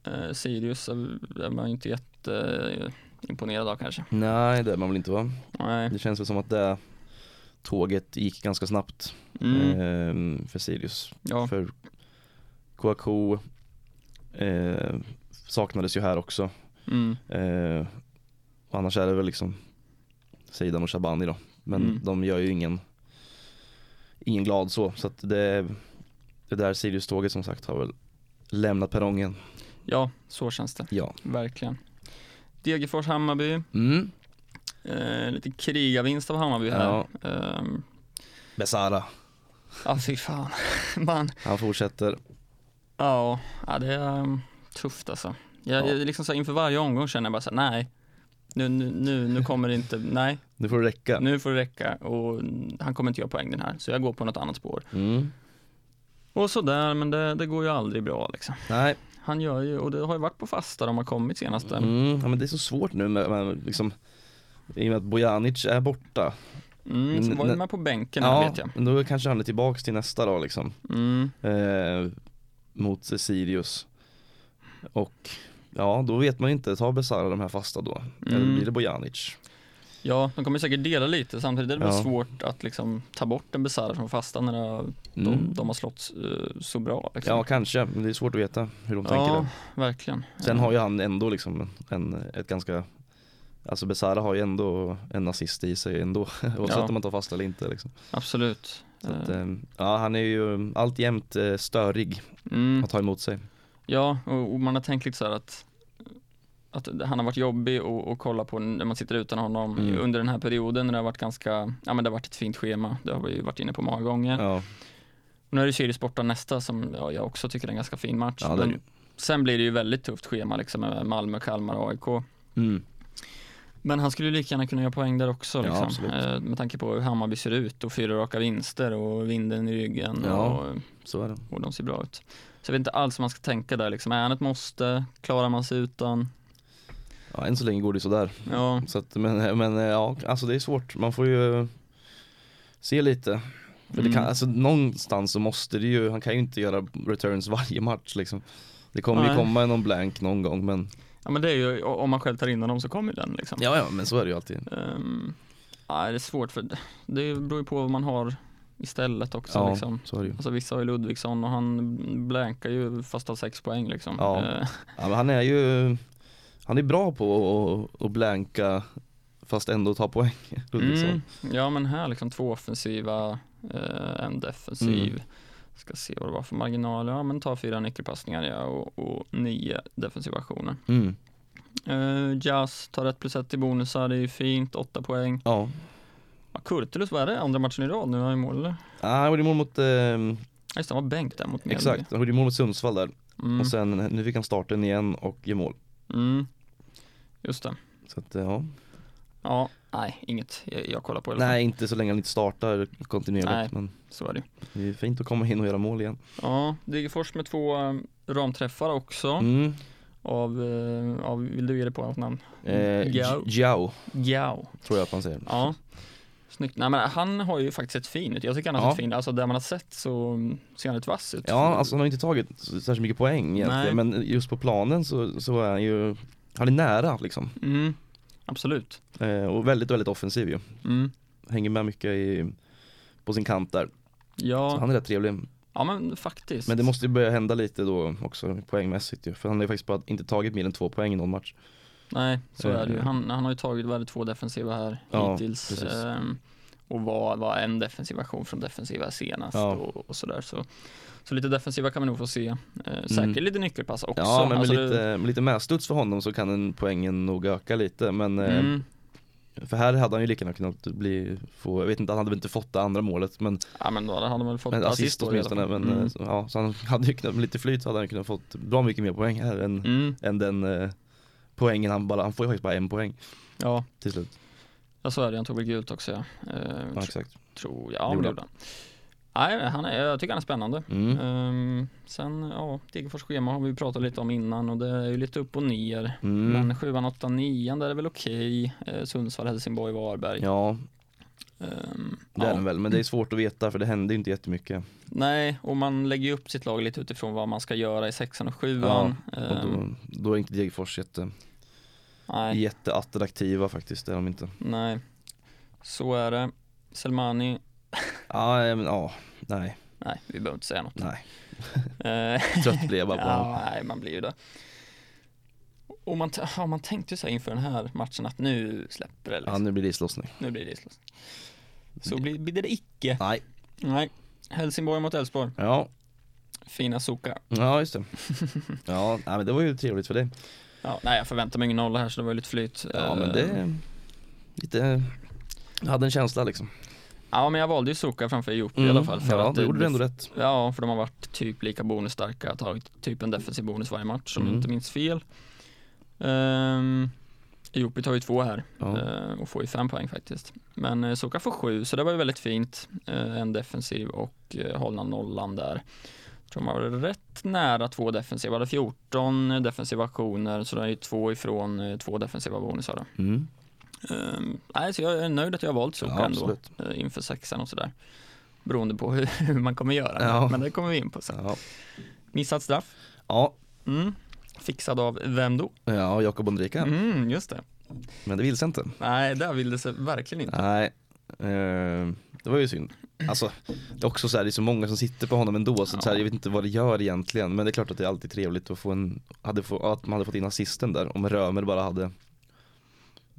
Speaker 3: Eh, Sirius är är man ju inte jätteimponerad av kanske.
Speaker 2: Nej det är man väl inte va?
Speaker 3: Nej.
Speaker 2: Det känns väl som att det tåget gick ganska snabbt
Speaker 3: Mm.
Speaker 2: ehm, för Sirius.
Speaker 3: Ja.
Speaker 2: Eh, För Kouakou eh, saknades ju här också.
Speaker 3: Mm.
Speaker 2: Eh, och annars är det väl liksom Seidan och Shabani då. Men
Speaker 3: Mm.
Speaker 2: de gör ju ingen, ingen glad så. Så att det, det där Sirius-tåget som sagt har väl lämnat perrongen.
Speaker 3: Ja, så känns det.
Speaker 2: Ja.
Speaker 3: Verkligen. Degerfors-Hammarby.
Speaker 2: Mm.
Speaker 3: Eh, lite krigarvinst av Hammarby här.
Speaker 2: Ja.
Speaker 3: Ehm,
Speaker 2: Besara,
Speaker 3: Ja, fy fan. [LAUGHS] Man,
Speaker 2: han fortsätter.
Speaker 3: ja, ja, det är um, tufft alltså. Jag,
Speaker 2: Ja.
Speaker 3: jag, liksom så här, inför varje omgång känner jag bara så här, nej. Nu, nu, nu, nu kommer det inte, nej,
Speaker 2: Nu får det räcka.
Speaker 3: nu får det räcka och mm, han kommer inte göra poäng den här, så jag går på något annat spår.
Speaker 2: Mm.
Speaker 3: Och sådär, men det, det går ju aldrig bra liksom.
Speaker 2: Nej,
Speaker 3: Han gör ju, och det har ju varit på fasta de har kommit senaste.
Speaker 2: Mm, ja, men det är så svårt nu med, med liksom, i och med att Bojanic är borta.
Speaker 3: Mm, så
Speaker 2: Men-
Speaker 3: var ju
Speaker 2: men-
Speaker 3: med på bänken här
Speaker 2: Ja,
Speaker 3: vet jag.
Speaker 2: men då kanske han är tillbaks till nästa dag liksom.
Speaker 3: Mm,
Speaker 2: Eh, mot Sirius. Och ja, då vet man inte, tar Besara de här fasta då? Eller
Speaker 3: Mm.
Speaker 2: blir det Bojanic?
Speaker 3: ja, de kommer säkert dela lite, samtidigt är det väl
Speaker 2: Ja.
Speaker 3: svårt att liksom ta bort en Besara från fasta när de, de-
Speaker 2: Mm.
Speaker 3: de har slått eh, så bra. Liksom.
Speaker 2: Ja, kanske, men det är svårt att veta hur de tänker
Speaker 3: Ja,
Speaker 2: där.
Speaker 3: verkligen.
Speaker 2: Sen har ju han ändå liksom en, ett ganska Alltså Besara har ju ändå en assist i sig ändå, [LAUGHS] oavsett
Speaker 3: Ja.
Speaker 2: om man tar fasta eller inte liksom.
Speaker 3: Absolut.
Speaker 2: Så att,
Speaker 3: Eh,
Speaker 2: eh, ja, han är ju alltjämt eh, störig
Speaker 3: mm.
Speaker 2: att ta emot sig.
Speaker 3: Ja, och, och man har tänkt lite så här att att han har varit jobbig och, och kolla på när man sitter utan honom
Speaker 2: Mm.
Speaker 3: under den här perioden när det har varit ganska, ja men det har varit ett fint schema, det har vi ju varit inne på många gånger.
Speaker 2: Ja,
Speaker 3: Nu är det Sirius borta nästa som ja, jag också tycker är en ganska fin match.
Speaker 2: ja det är
Speaker 3: men
Speaker 2: det ju.
Speaker 3: sen blir det ju väldigt tufft schema liksom med Malmö, Kalmar och AIK.
Speaker 2: Mm.
Speaker 3: Men han skulle ju lika gärna kunna göra poäng där också
Speaker 2: Ja,
Speaker 3: liksom.
Speaker 2: absolut.
Speaker 3: eh, med tanke på hur Hammarby ser ut och fyra raka vinster och vinden i ryggen
Speaker 2: Ja.
Speaker 3: och,
Speaker 2: Så är det.
Speaker 3: och de ser bra ut. Så jag vet inte alls hur man ska tänka där liksom. Är han ett måste? Klarar man sig utan?
Speaker 2: Ja, än så länge går det sådär.
Speaker 3: Ja,
Speaker 2: Så att, men, men ja, alltså det är svårt. Man får ju se lite. För det kan,
Speaker 3: Mm.
Speaker 2: alltså, någonstans så måste det ju, han kan ju inte göra returns varje match liksom. Det kommer ju
Speaker 3: Nej.
Speaker 2: komma någon blank någon gång men
Speaker 3: ja men det är ju, o- om man själv tar in honom så kommer ju den liksom.
Speaker 2: Ja ja men så är det ju alltid.
Speaker 3: Ehm, nej, det är svårt för det beror ju på vad man har istället också
Speaker 2: ja,
Speaker 3: liksom.
Speaker 2: så är det ju.
Speaker 3: Alltså vissa har ju Ludvigsson och han blankar ju fast av sex poäng liksom.
Speaker 2: Ja.
Speaker 3: Eh,
Speaker 2: Ja, men han är ju, han är bra på att, att blanka fast ändå ta poäng. [LAUGHS] Liksom. Ludvigsson.
Speaker 3: mm. Ja men här liksom två offensiva, eh, en defensiv.
Speaker 2: Mm.
Speaker 3: Ska se vad det var för marginaler. Ja men ta fyra nyckelpassningar ja, och, och nio defensiva aktioner.
Speaker 2: Mm.
Speaker 3: Eh, Jazz tar ett plus ett i bonusar, det är ju fint, åtta poäng.
Speaker 2: Ja.
Speaker 3: Ja, Kurtulus, vad är det? Andra matchen i rad nu, har han ju mål eller?
Speaker 2: Ah, han gjorde mål mot, eh,
Speaker 3: Ja, just det, han var bänk där mot Mjällby.
Speaker 2: exakt, han gjorde mål mot Sundsvall där.
Speaker 3: Mm.
Speaker 2: Och sen, nu fick han starten igen och gör mål.
Speaker 3: Mm. Just det.
Speaker 2: Så att, eh, ja.
Speaker 3: Ja, nej, inget jag, jag kollar på i alla fall.
Speaker 2: Nej inte så länge han inte startar kontinuerligt
Speaker 3: Nej.
Speaker 2: men
Speaker 3: Så är det ju.
Speaker 2: det är fint att komma in och göra mål igen.
Speaker 3: Ja, Degerfors med två eh, ramträffar också.
Speaker 2: Mm.
Speaker 3: Av, eh, av, vill du ge det på något namn?
Speaker 2: Eh,
Speaker 3: Giao.
Speaker 2: Giao
Speaker 3: Giao.
Speaker 2: tror jag att man säger.
Speaker 3: Ja. Snyggt. Nej, men han har ju faktiskt ett fint ut. Jag tycker han har
Speaker 2: Ja.
Speaker 3: sett fint Alltså där man har sett så ser han ett vass ut.
Speaker 2: Ja, alltså han har inte tagit så- särskilt mycket poäng egentligen
Speaker 3: Nej.
Speaker 2: men just på planen så, så är han ju, han är nära liksom.
Speaker 3: Mm, absolut.
Speaker 2: Eh, och väldigt, väldigt offensiv ju.
Speaker 3: Mm.
Speaker 2: Hänger med mycket i, på sin kant där. Så
Speaker 3: Ja,
Speaker 2: han är rätt trevlig.
Speaker 3: ja, men faktiskt.
Speaker 2: Men det måste ju börja hända lite då också poängmässigt ju. För han har ju faktiskt bara inte tagit mer än två poäng i någon match.
Speaker 3: Nej, så är det ju.
Speaker 2: Eh.
Speaker 3: Han, han har ju tagit vad är det, två defensiva här
Speaker 2: Ja,
Speaker 3: hittills.
Speaker 2: precis.
Speaker 3: ehm, och var, var en defensiv aktion från defensiva senast
Speaker 2: Ja.
Speaker 3: och, och sådär. Så, så lite defensiva kan vi nog få se. Eh, säkert
Speaker 2: Mm.
Speaker 3: lite nyckelpass också.
Speaker 2: Ja, men med,
Speaker 3: Alltså,
Speaker 2: lite, med lite medstuds för honom så kan en poängen nog öka lite. Men
Speaker 3: det,
Speaker 2: eh,
Speaker 3: mm,
Speaker 2: för här hade han ju lika gärna kunnat bli, få, jag vet inte, han hade väl inte fått det andra målet men
Speaker 3: ja, men då hade han väl fått
Speaker 2: Men assist
Speaker 3: då i alla
Speaker 2: åtminstone,
Speaker 3: fall.
Speaker 2: men
Speaker 3: Mm.
Speaker 2: eh, så, ja, så han hade ju kunnat, med lite flyt så hade han kunnat fått bra mycket mer poäng här än,
Speaker 3: Mm,
Speaker 2: än den eh, poängen han bara, han får ju faktiskt bara en poäng
Speaker 3: ja,
Speaker 2: till slut.
Speaker 3: jag sa det. Han tog väl gult också ja. Eh,
Speaker 2: Ja,
Speaker 3: tr-
Speaker 2: exakt.
Speaker 3: tror jag. Ja, men
Speaker 2: Gjorde
Speaker 3: det gjorde han. Nej, han är, jag tycker han är spännande.
Speaker 2: Mm.
Speaker 3: Ehm, sen, ja, Degerfors schema har vi pratat lite om innan och det är ju lite upp och ner.
Speaker 2: Mm.
Speaker 3: Men 7 8 9 där är väl okej. Eh, Sundsvall, Helsingborg, Varberg.
Speaker 2: Ja,
Speaker 3: Ehm,
Speaker 2: det är
Speaker 3: ja.
Speaker 2: den väl, men det är svårt att veta för det hände ju inte jättemycket.
Speaker 3: Nej, och man lägger ju upp sitt lag lite utifrån vad man ska göra i sexan och sjuan. Ehm,
Speaker 2: Och då, då är inte Degerfors jätte,
Speaker 3: nej,
Speaker 2: jätteattraktiva faktiskt, det är de inte.
Speaker 3: nej, så är det. Selmani,
Speaker 2: Ja, eh, men ja, nej,
Speaker 3: nej, vi behöver inte säga något.
Speaker 2: nej.
Speaker 3: Eh,
Speaker 2: Trött blir jag bara på honom.
Speaker 3: [LAUGHS] Ja, nej, man blir ju det. Och man, t- ja, man tänkte ju så här inför den här matchen att nu släpper det liksom.
Speaker 2: Ja, nu blir det islossning.
Speaker 3: Nu blir det islossning. Så blir, blir det icke.
Speaker 2: Nej,
Speaker 3: Nej. Helsingborg mot Elfsborg.
Speaker 2: ja,
Speaker 3: Fina Soka.
Speaker 2: ja [LAUGHS] just det. Ja, nej, men det var ju trevligt för dig.
Speaker 3: Ja, nej, jag förväntar mig ingen nolla här så det var ju lite flyt.
Speaker 2: Ja,
Speaker 3: Eh,
Speaker 2: men det är lite, jag hade en känsla liksom.
Speaker 3: Ja, men jag valde ju Soka framför Jopi i
Speaker 2: Mm,
Speaker 3: alla fall. För
Speaker 2: ja,
Speaker 3: att
Speaker 2: det gjorde du ändå rätt.
Speaker 3: Ja, för de har varit typ lika bonusstarka. Tagit typ en defensiv bonus varje match om jag
Speaker 2: Mm.
Speaker 3: inte minns fel. Um, Jopi tar ju två här
Speaker 2: Ja.
Speaker 3: eh, och får ju fem poäng faktiskt. Men uh, Soka får sju, så det var ju väldigt fint. Eh, en defensiv och uh, hålla nollan där. tror man var rätt nära två defensiva, hade 14 defensiva aktioner, så det är ju två ifrån eh, två defensiva bonusar då.
Speaker 2: Mm.
Speaker 3: Ehm, nej, så jag är nöjd att jag har valt Soka
Speaker 2: Ja,
Speaker 3: ändå
Speaker 2: absolut.
Speaker 3: eh, inför sexan och sådär. Beroende på [LAUGHS] hur, hur man kommer göra,
Speaker 2: Ja.
Speaker 3: men det kommer vi in på sen.
Speaker 2: Ja.
Speaker 3: Missat straff,
Speaker 2: Ja,
Speaker 3: mm. fixad av vem då?
Speaker 2: ja Jakob Ondrika.
Speaker 3: Mm, just det.
Speaker 2: Men det vilse inte.
Speaker 3: Nej, där vill det sig verkligen inte.
Speaker 2: Nej, eh, det var ju synd. Alltså, det är också så här, det är så många som sitter på honom ändå så,
Speaker 3: Ja.
Speaker 2: så här, jag vet inte vad det gör egentligen. Men det är klart att det är alltid trevligt att få en, hade få, att man hade fått in assisten där om Römer bara hade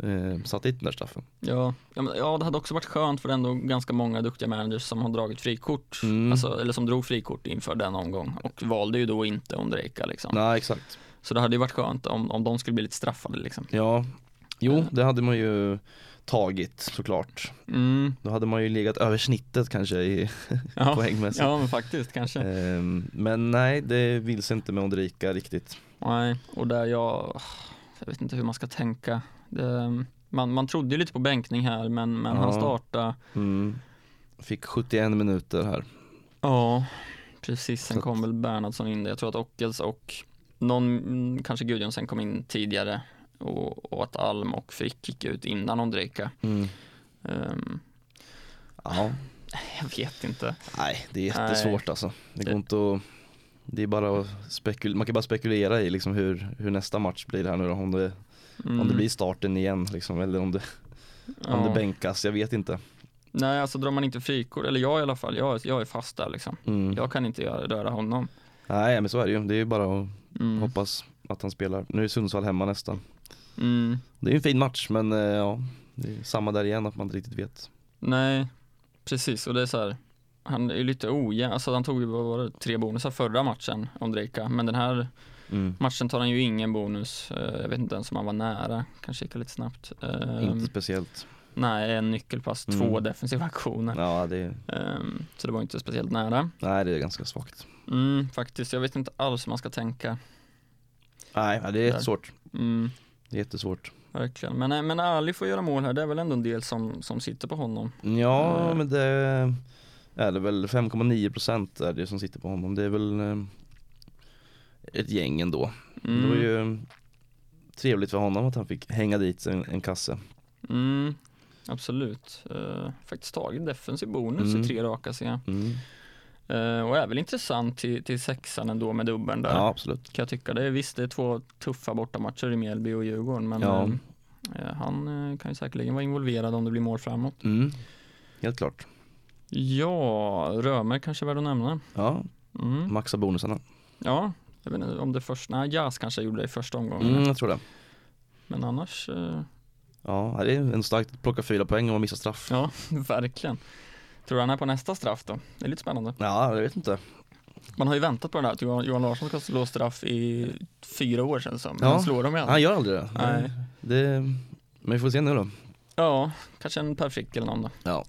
Speaker 2: eh, satt dit den där straffen.
Speaker 3: Ja, ja, men, ja, det hade också varit skönt för det är ändå ganska många duktiga managers som har dragit frikort,
Speaker 2: Mm.
Speaker 3: alltså, eller som drog frikort inför den omgång och valde ju då inte Ondrejka liksom.
Speaker 2: Nej, exakt.
Speaker 3: Så det hade ju varit skönt om, om de skulle bli lite straffade liksom.
Speaker 2: Ja, jo, det hade man ju tagit såklart.
Speaker 3: Mm,
Speaker 2: Då hade man ju legat över snittet kanske i
Speaker 3: [LAUGHS] ja.
Speaker 2: poängmässigt.
Speaker 3: ja, men faktiskt kanske.
Speaker 2: Ehm, Men nej, det vilse inte med Ondrejka riktigt.
Speaker 3: Nej, och där jag, jag vet inte hur man ska tänka. Det, man, man trodde ju lite på bänkning här, men, men
Speaker 2: Ja.
Speaker 3: han startade.
Speaker 2: Mm. Fick 71 minuter här.
Speaker 3: Ja, precis. Sen
Speaker 2: Så att-
Speaker 3: kom väl Bernhardsson in där. Jag tror att Ockels och någon, mm, kanske Gudjonsen kom in tidigare och, och att Alm och Frick gick ut innan Ondrejka.
Speaker 2: Mm.
Speaker 3: Ehm,
Speaker 2: Ja,
Speaker 3: jag vet inte.
Speaker 2: nej det är jättesvårt alltså. Det går inte att, det är bara att spekul- man kan bara spekulera i liksom hur, hur nästa match blir här nu då, om det,
Speaker 3: Mm,
Speaker 2: om det blir starten igen liksom, eller om det, om det
Speaker 3: ja.
Speaker 2: bänkas, jag vet inte.
Speaker 3: Nej, alltså drar man inte frikort, eller jag i alla fall, jag, jag är fast där liksom.
Speaker 2: Mm.
Speaker 3: Jag kan inte göra, röra honom.
Speaker 2: Nej men så är det ju, det är ju bara att
Speaker 3: Mm.
Speaker 2: hoppas att han spelar. Nu är Sundsvall hemma nästan.
Speaker 3: Mm.
Speaker 2: Det är ju en fin match men eh, ja, det är samma där igen att man inte riktigt vet.
Speaker 3: Nej, precis. Och det är så här, han är ju lite ojämn. Alltså han tog ju vad var det, tre bonusar förra matchen, Ondrejka. Men den här
Speaker 2: Mm.
Speaker 3: matchen tar han ju ingen bonus. Eh, Jag vet inte ens om han var nära. Kanske gick det lite snabbt. Ehm,
Speaker 2: Inte speciellt.
Speaker 3: Nej, en nyckelpass,
Speaker 2: Mm.
Speaker 3: två defensiva aktioner.
Speaker 2: Ja det är,
Speaker 3: Ehm, Så det var inte speciellt nära.
Speaker 2: nej det är ganska svagt.
Speaker 3: Mm, faktiskt, jag vet inte alls hur man ska tänka.
Speaker 2: Nej ja, det är jättesvårt.
Speaker 3: Mm,
Speaker 2: Det är jättesvårt.
Speaker 3: verkligen. Men, eh, men Ali får göra mål här. Det är väl ändå en del som, som sitter på honom.
Speaker 2: Ja,
Speaker 3: Eh.
Speaker 2: men det är det väl 5,9 procent är det som sitter på honom. Det är väl eh, ett gäng ändå.
Speaker 3: Mm.
Speaker 2: Det var ju eh, trevligt för honom att han fick hänga dit en, en kasse.
Speaker 3: Mm. absolut. Eh, faktiskt tagit defensiv bonus
Speaker 2: Mm.
Speaker 3: i tre raka ser jag.
Speaker 2: Mm.
Speaker 3: Eh, och är väl intressant till, till sexan ändå med dubben där.
Speaker 2: Ja, absolut.
Speaker 3: Kan jag tycka. Det är, visst, det är två tuffa bortamatcher i Mjällby och Djurgården, men
Speaker 2: Ja.
Speaker 3: eh, han eh, kan ju säkerligen vara involverad om det blir mål framåt.
Speaker 2: Mm. Helt klart.
Speaker 3: Ja, Römer kanske är värd att nämna.
Speaker 2: Ja,
Speaker 3: Mm.
Speaker 2: maxa bonusarna.
Speaker 3: Ja, jag vet inte om det första, nej Jas kanske gjorde det i första omgången.
Speaker 2: Mm, jag tror det.
Speaker 3: Men annars, eh,
Speaker 2: Ja, det är en starkt att plocka fyra poäng om man missar straff. Ja,
Speaker 3: ja [LAUGHS] verkligen. Tror du han är på nästa straff då? Det är lite spännande.
Speaker 2: jag vet inte.
Speaker 3: Man har ju väntat på den där att Johan, Johan Larsson ska slå straff i fyra år sedan som. Men
Speaker 2: Ja.
Speaker 3: han slår dem igen.
Speaker 2: Han gör aldrig det.
Speaker 3: Nej.
Speaker 2: det. Men vi får se nu då.
Speaker 3: Ja, kanske en Per Frick eller någon då.
Speaker 2: Ja.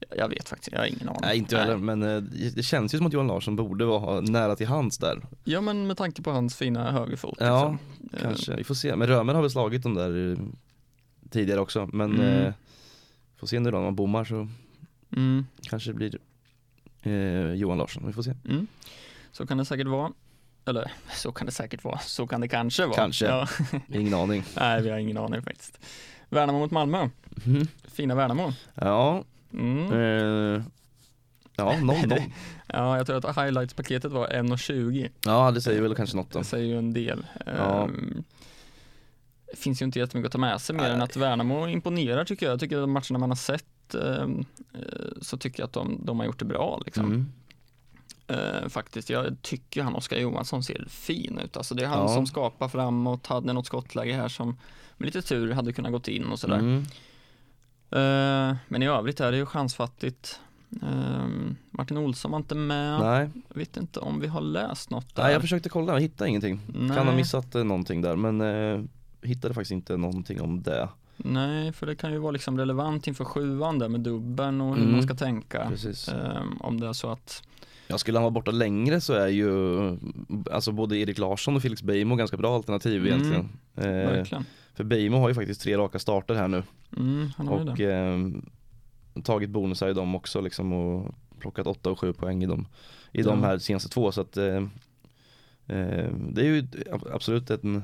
Speaker 3: Jag- Jag vet faktiskt, jag har ingen aning.
Speaker 2: Nej, inte jag heller. Men eh, det känns ju som att Johan Larsson borde vara nära till hands där.
Speaker 3: Ja men med tanke på hans fina högerfot.
Speaker 2: Ja,
Speaker 3: liksom.
Speaker 2: Kanske, vi får se. Men Römer har väl slagit dem där eh, tidigare också. Men
Speaker 3: Mm.
Speaker 2: eh, får se nu då, om man bommar så
Speaker 3: Eh, Mm,
Speaker 2: kanske det blir eh, Johan Larsson. Vi får se.
Speaker 3: mm. Så kan det säkert vara. Eller så kan det säkert vara, så kan det kanske vara.
Speaker 2: Kanske.
Speaker 3: Ja. [LAUGHS]
Speaker 2: Ingen aning.
Speaker 3: Nej, vi har ingen aning faktiskt. Värnamo mot Malmö.
Speaker 2: Mhm.
Speaker 3: Fina Värnamo.
Speaker 2: Ja,
Speaker 3: Mm.
Speaker 2: eh,
Speaker 3: [LAUGHS]
Speaker 2: ja, någon, någon.
Speaker 3: Ja, jag tror att highlights-paketet var 1,20.
Speaker 2: Ja, det säger väl kanske något då.
Speaker 3: Det säger ju en del.
Speaker 2: Ja.
Speaker 3: Ehm, Det finns ju inte jättemycket att ta med sig mer än
Speaker 2: Nej.
Speaker 3: att Värnamo imponerar tycker jag. Jag tycker att de matcherna man har sett ehm, eh, så tycker jag att de, de har gjort det bra. Liksom.
Speaker 2: Mm.
Speaker 3: Eh, faktiskt. Jag tycker han Oskar Johansson ser fin ut. Alltså, det är han
Speaker 2: Ja.
Speaker 3: som skapar framåt, hade något skottläge här som med lite tur hade kunnat gått in och sådär.
Speaker 2: Mm.
Speaker 3: Eh, Men i övrigt är det ju chansfattigt. Eh, Martin Olsson var inte med.
Speaker 2: Nej.
Speaker 3: Jag vet inte om vi har läst något där.
Speaker 2: Nej, jag försökte kolla, jag hittade ingenting.
Speaker 3: Nej.
Speaker 2: Kan ha missat eh, någonting där, men eh, hittade faktiskt inte någonting om det.
Speaker 3: Nej, för det kan ju vara liksom relevant inför sjuan där med dubben och hur
Speaker 2: Mm.
Speaker 3: man ska tänka.
Speaker 2: Precis.
Speaker 3: Eh, om det är så att,
Speaker 2: Ja, skulle han vara borta längre så är ju eh, alltså både Erik Larsson och Felix Beijmo ganska bra alternativ
Speaker 3: Mm.
Speaker 2: egentligen. Eh,
Speaker 3: verkligen.
Speaker 2: för Beijmo har ju faktiskt tre raka starter här nu
Speaker 3: Mm, han har ju
Speaker 2: och
Speaker 3: det.
Speaker 2: eh, tagit bonusar i dem också liksom och plockat åtta och sju poäng i dem i de
Speaker 3: Ja.
Speaker 2: här senaste två så att eh, eh, det är ju ab- absolut en,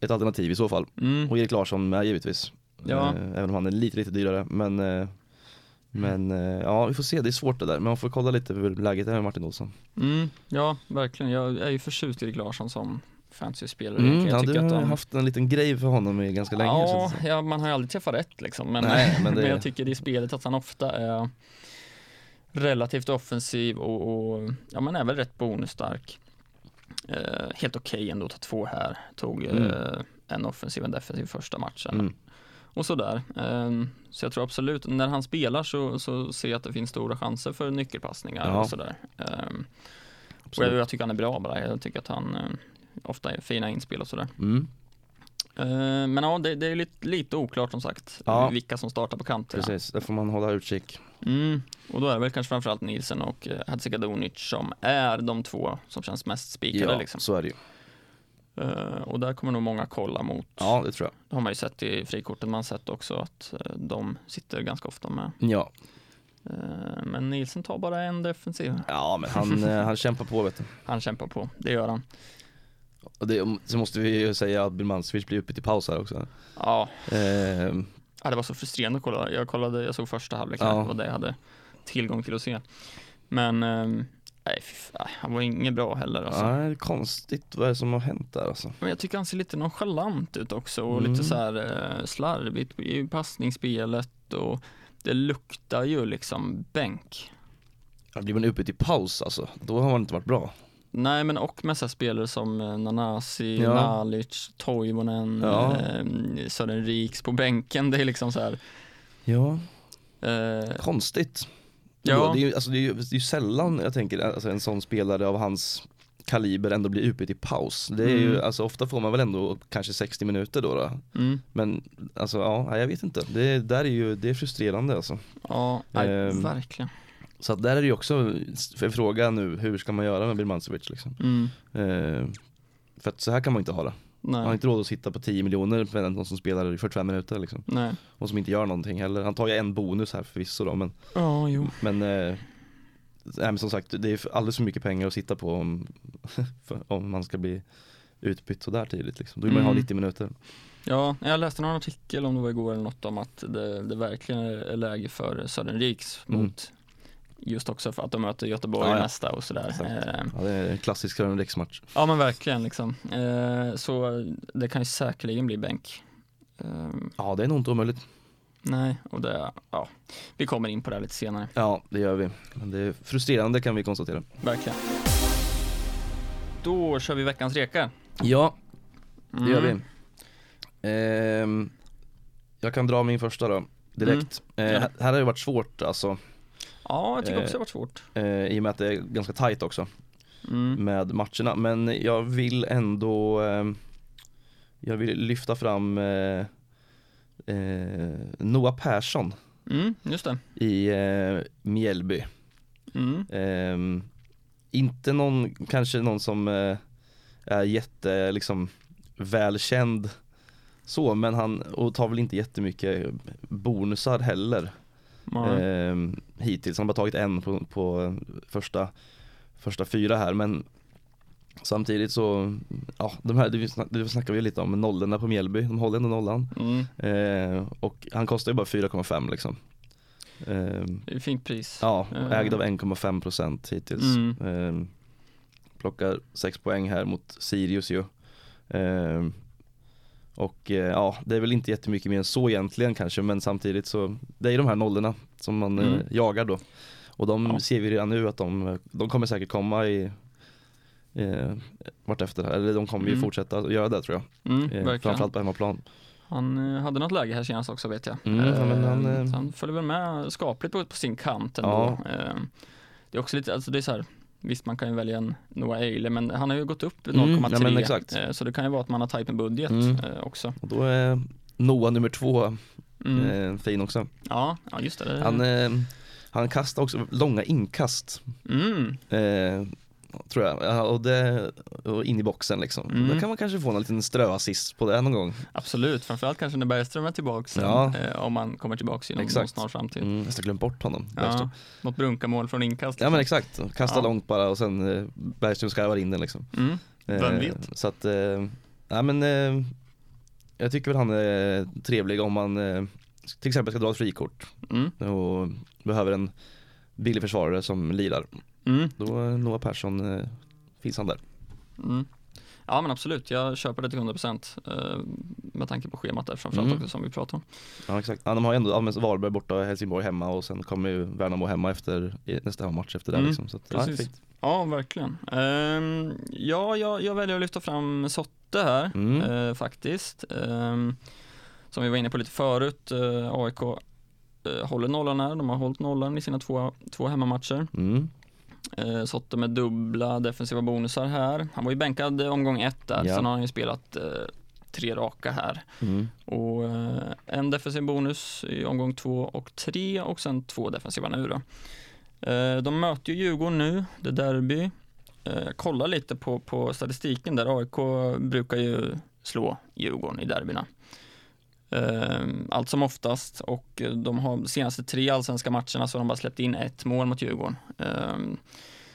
Speaker 2: ett alternativ i så fall.
Speaker 3: Mm.
Speaker 2: Och Erik Larsson med givetvis.
Speaker 3: Ja.
Speaker 2: Eh, även om han är lite, lite dyrare. Men, eh, men eh, ja, vi får se. Det är svårt det där. Men man får kolla lite hur läget är med Martin Olsson.
Speaker 3: Mm, ja, verkligen. Jag är ju förtjust i Erik Larsson som fantasyspelare.
Speaker 2: Mm,
Speaker 3: jag
Speaker 2: ja, du
Speaker 3: tycker
Speaker 2: har
Speaker 3: att de...
Speaker 2: haft en liten grej för honom i ganska länge.
Speaker 3: ja,
Speaker 2: känns det
Speaker 3: ja, man har ju aldrig träffat rätt liksom. Men,
Speaker 2: Nej, men
Speaker 3: [LAUGHS] men,
Speaker 2: det-
Speaker 3: jag tycker i spelet att han ofta är relativt offensiv och, och ja, man är väl rätt bonusstark. Eh, helt okej ändå, ta två här. Tog eh,
Speaker 2: Mm.
Speaker 3: en offensiv och en defensiv första matchen.
Speaker 2: som. mm.
Speaker 3: Och sådär. Eh, så jag tror absolut, när han spelar så, så ser jag att det finns stora chanser för nyckelpassningar
Speaker 2: Ja.
Speaker 3: och sådär. Eh, och jag,
Speaker 2: absolut.
Speaker 3: jag tycker han är bra bara. Jag tycker att han eh, ofta är fina inspel och sådär.
Speaker 2: Mm,
Speaker 3: Eh, men ja, det, det är lite, lite oklart som sagt
Speaker 2: Ja.
Speaker 3: vilka som startar på kanterna.
Speaker 2: precis, där får man hålla utkik.
Speaker 3: Mm. Och då är det väl kanske framförallt Nielsen och eh, Hadzikadunic som är de två som känns mest spikade.
Speaker 2: Ja,
Speaker 3: Liksom.
Speaker 2: så är det ju.
Speaker 3: Eh, och där kommer nog många kolla mot.
Speaker 2: Ja, det tror
Speaker 3: Det har man ju sett i frikorten, man har sett också att eh, de sitter ganska ofta med.
Speaker 2: jag. Ja,
Speaker 3: Eh, men Nielsen tar bara en defensiv.
Speaker 2: ja men han, eh, han kämpar på vet du.
Speaker 3: Han kämpar på, det gör han.
Speaker 2: Och det, så måste vi ju säga att Birmancevic blir uppe till paus här också.
Speaker 3: Ja,
Speaker 2: Eh,
Speaker 3: Ja, det var så frustrerande att kolla. Jag kollade, jag såg första halvlek,
Speaker 2: Ja.
Speaker 3: det var det jag hade tillgång till att se. Men, ehm, nej, fy fan, han var inget bra heller alltså.
Speaker 2: ja, det är konstigt, vad är det som har hänt där alltså?
Speaker 3: Men jag tycker han ser lite nonchalant ut också och
Speaker 2: Mm.
Speaker 3: lite så här eh, slarvigt i passningsspelet och det luktar ju liksom bänk.
Speaker 2: Ja, Blir man uppe till paus alltså, då har man inte varit bra.
Speaker 3: Nej men och med så här spelare som eh, Nanasi,
Speaker 2: Ja.
Speaker 3: Nalic, Toivonen,
Speaker 2: Ja.
Speaker 3: eh, Sören Riks på bänken. Det är liksom så här.
Speaker 2: Ja,
Speaker 3: Eh,
Speaker 2: konstigt.
Speaker 3: Ja.
Speaker 2: Ja. Det, är ju, alltså, det, är ju, det är ju sällan jag tänker alltså, en sån spelare av hans kaliber ändå blir utbytt i paus. Det är ju,
Speaker 3: Mm.
Speaker 2: alltså, ofta får man väl ändå kanske 60 minuter då. då.
Speaker 3: mm,
Speaker 2: Men alltså ja, nej, jag vet inte. Det där är ju det är frustrerande alltså.
Speaker 3: ja, nej,
Speaker 2: Ehm.
Speaker 3: verkligen.
Speaker 2: Så att där är det ju också en fråga nu, hur ska man göra med Birmancevic liksom?
Speaker 3: Mm,
Speaker 2: Eh, för att så här kan man inte ha det.
Speaker 3: nej.
Speaker 2: Man har inte råd att sitta på 10 miljoner med någon som spelar i 45 minuter liksom.
Speaker 3: Nej.
Speaker 2: Och som inte gör någonting heller. Han tar ju en bonus här förvisso då men
Speaker 3: Ja, jo.
Speaker 2: Men, eh, nej, men som sagt, det är alldeles för mycket pengar att sitta på [LAUGHS] om, för, om man ska bli utbytt sådär tidigt. Liksom. Då vill man ju ha
Speaker 3: Mm.
Speaker 2: 90 minuter.
Speaker 3: Ja, jag läste någon artikel om det var igår eller något om att det, det verkligen är läge för Söderriks
Speaker 2: Mm.
Speaker 3: mot just också för att de möter Göteborg
Speaker 2: Ja, ja.
Speaker 3: nästa och sådär.
Speaker 2: Exakt.
Speaker 3: Eh,
Speaker 2: Ja, det är en klassisk Rönnebäcksmatch.
Speaker 3: ja men verkligen liksom. Eh, så det kan ju säkerligen bli bänk. Eh,
Speaker 2: Ja, det är nog inte omöjligt.
Speaker 3: nej, och det, ja, vi kommer in på det här lite senare,
Speaker 2: Ja, det gör vi. Men det är frustrerande kan vi konstatera.
Speaker 3: verkligen. Då kör vi veckans rekar.
Speaker 2: Ja,
Speaker 3: Mm.
Speaker 2: det gör vi. Ehm, jag kan dra min första då, direkt. Eh,
Speaker 3: Ja.
Speaker 2: här här har det varit svårt alltså,
Speaker 3: Ja, jag tycker också
Speaker 2: Eh.
Speaker 3: det har varit svårt.
Speaker 2: eh, i och med att det är ganska tajt också
Speaker 3: Mm.
Speaker 2: med matcherna. Men jag vill ändå, ehm, jag vill lyfta fram eh, eh, Noah Persson
Speaker 3: Mm, just det.
Speaker 2: i eh, Mjällby.
Speaker 3: Mm.
Speaker 2: Ehm, inte någon, kanske någon som eh, är jätte, liksom, välkänd så, men han, och tar väl inte jättemycket bonusar heller
Speaker 3: Ja.
Speaker 2: ehm, hittills. Han har bara tagit en på, på första, första fyra här, men samtidigt så, ja, de här, det, snack, det snackar vi lite om, nollorna på Mjällby, de håller ändå nollan.
Speaker 3: Mm.
Speaker 2: Ehm, och han kostar ju bara 4,5 liksom. Ehm,
Speaker 3: Det är ett fint pris.
Speaker 2: Ja,
Speaker 3: Eh.
Speaker 2: ägd av 1,5 procent hittills.
Speaker 3: Mm.
Speaker 2: Ehm, plockar 6 poäng här mot Sirius ju. Ehm, och eh, ja, det är väl inte jättemycket mer än så egentligen kanske men samtidigt så det är ju de här nollorna som man eh,
Speaker 3: Mm.
Speaker 2: jagar då. Och de
Speaker 3: Ja.
Speaker 2: ser vi redan nu att de, de kommer säkert komma i eh, vartefter, här. eller de kommer ju
Speaker 3: Mm.
Speaker 2: fortsätta att göra det tror jag.
Speaker 3: Mm,
Speaker 2: Eh,
Speaker 3: verkligen.
Speaker 2: framförallt på hemmaplan.
Speaker 3: Han eh, hade något läge här senast också vet jag.
Speaker 2: Mm, ja, men han,
Speaker 3: Eh,
Speaker 2: eh,
Speaker 3: han följer väl med skapligt på, på sin kant ändå. Eh, Det är också lite, alltså det är så här, visst man kan ju välja en Noah Eile men han har ju gått upp
Speaker 2: Mm,
Speaker 3: 0,3
Speaker 2: ja, men exakt.
Speaker 3: Eh, så det kan ju vara att man har tajt med budget
Speaker 2: Mm.
Speaker 3: eh, också.
Speaker 2: Och då är Noah nummer två
Speaker 3: Mm.
Speaker 2: eh, fin också.
Speaker 3: Ja, ja just det. det.
Speaker 2: Han, eh, han kastar också långa inkast
Speaker 3: mm,
Speaker 2: eh, Tror jag, Ja, och, det, och in i boxen liksom.
Speaker 3: Mm.
Speaker 2: Då kan man kanske få en liten ströassist på det någon gång.
Speaker 3: absolut, framförallt kanske när Bergström är tillbaks sen,
Speaker 2: Ja.
Speaker 3: eh, om man kommer tillbaks inom någon
Speaker 2: Exakt.
Speaker 3: snar framtid.
Speaker 2: Mm. Nästan glömt bort honom.
Speaker 3: Ja,
Speaker 2: Bergström.
Speaker 3: något brunkamål från inkast.
Speaker 2: ja men exakt, kasta
Speaker 3: Ja.
Speaker 2: långt bara och sen eh, Bergström skarvar in den liksom.
Speaker 3: mm.
Speaker 2: Eh,
Speaker 3: Vem vet?
Speaker 2: Så att, eh, nej men eh, jag tycker väl han är trevlig om man eh, till exempel ska dra ett frikort
Speaker 3: Mm.
Speaker 2: och behöver en billig försvarare som lirar.
Speaker 3: Mm.
Speaker 2: Då eh, Noah Persson eh, finns han där.
Speaker 3: Mm. Ja men absolut, jag köper det till 100% eh, med tanke på schemat där framförallt
Speaker 2: Mm.
Speaker 3: också som vi pratade om.
Speaker 2: Ja exakt, ja, de har ju ändå, ja, men Varberg borta och Helsingborg hemma och sen kommer ju Värnamo hemma efter i nästa match efter det
Speaker 3: Mm,
Speaker 2: liksom. Så att, ja,
Speaker 3: precis.
Speaker 2: fint.
Speaker 3: Ja, verkligen. Ehm, ja, jag, jag väljer att lyfta fram Sotte här
Speaker 2: Mm.
Speaker 3: eh, faktiskt. Ehm, som vi var inne på lite förut, eh, AIK eh, håller nollan här, de har hållit nollan i sina två, två hemmamatcher.
Speaker 2: Mm.
Speaker 3: Eh, Sotte med dubbla defensiva bonusar här. Han var ju bänkad eh, omgång ett där,
Speaker 2: Ja.
Speaker 3: sen har han ju spelat eh, tre raka här.
Speaker 2: Mm.
Speaker 3: Och eh, en defensiv bonus i omgång två och tre och sen två defensiva nu då. Eh, De möter ju Djurgården nu, det är derby. Eh, Jag kollar lite på, på statistiken där, AIK brukar ju slå Djurgården i derbyna. Eh, Allt som oftast och eh, de har de senaste tre allsvenska matcherna så har de bara släppt in ett mål mot Djurgården. Eh,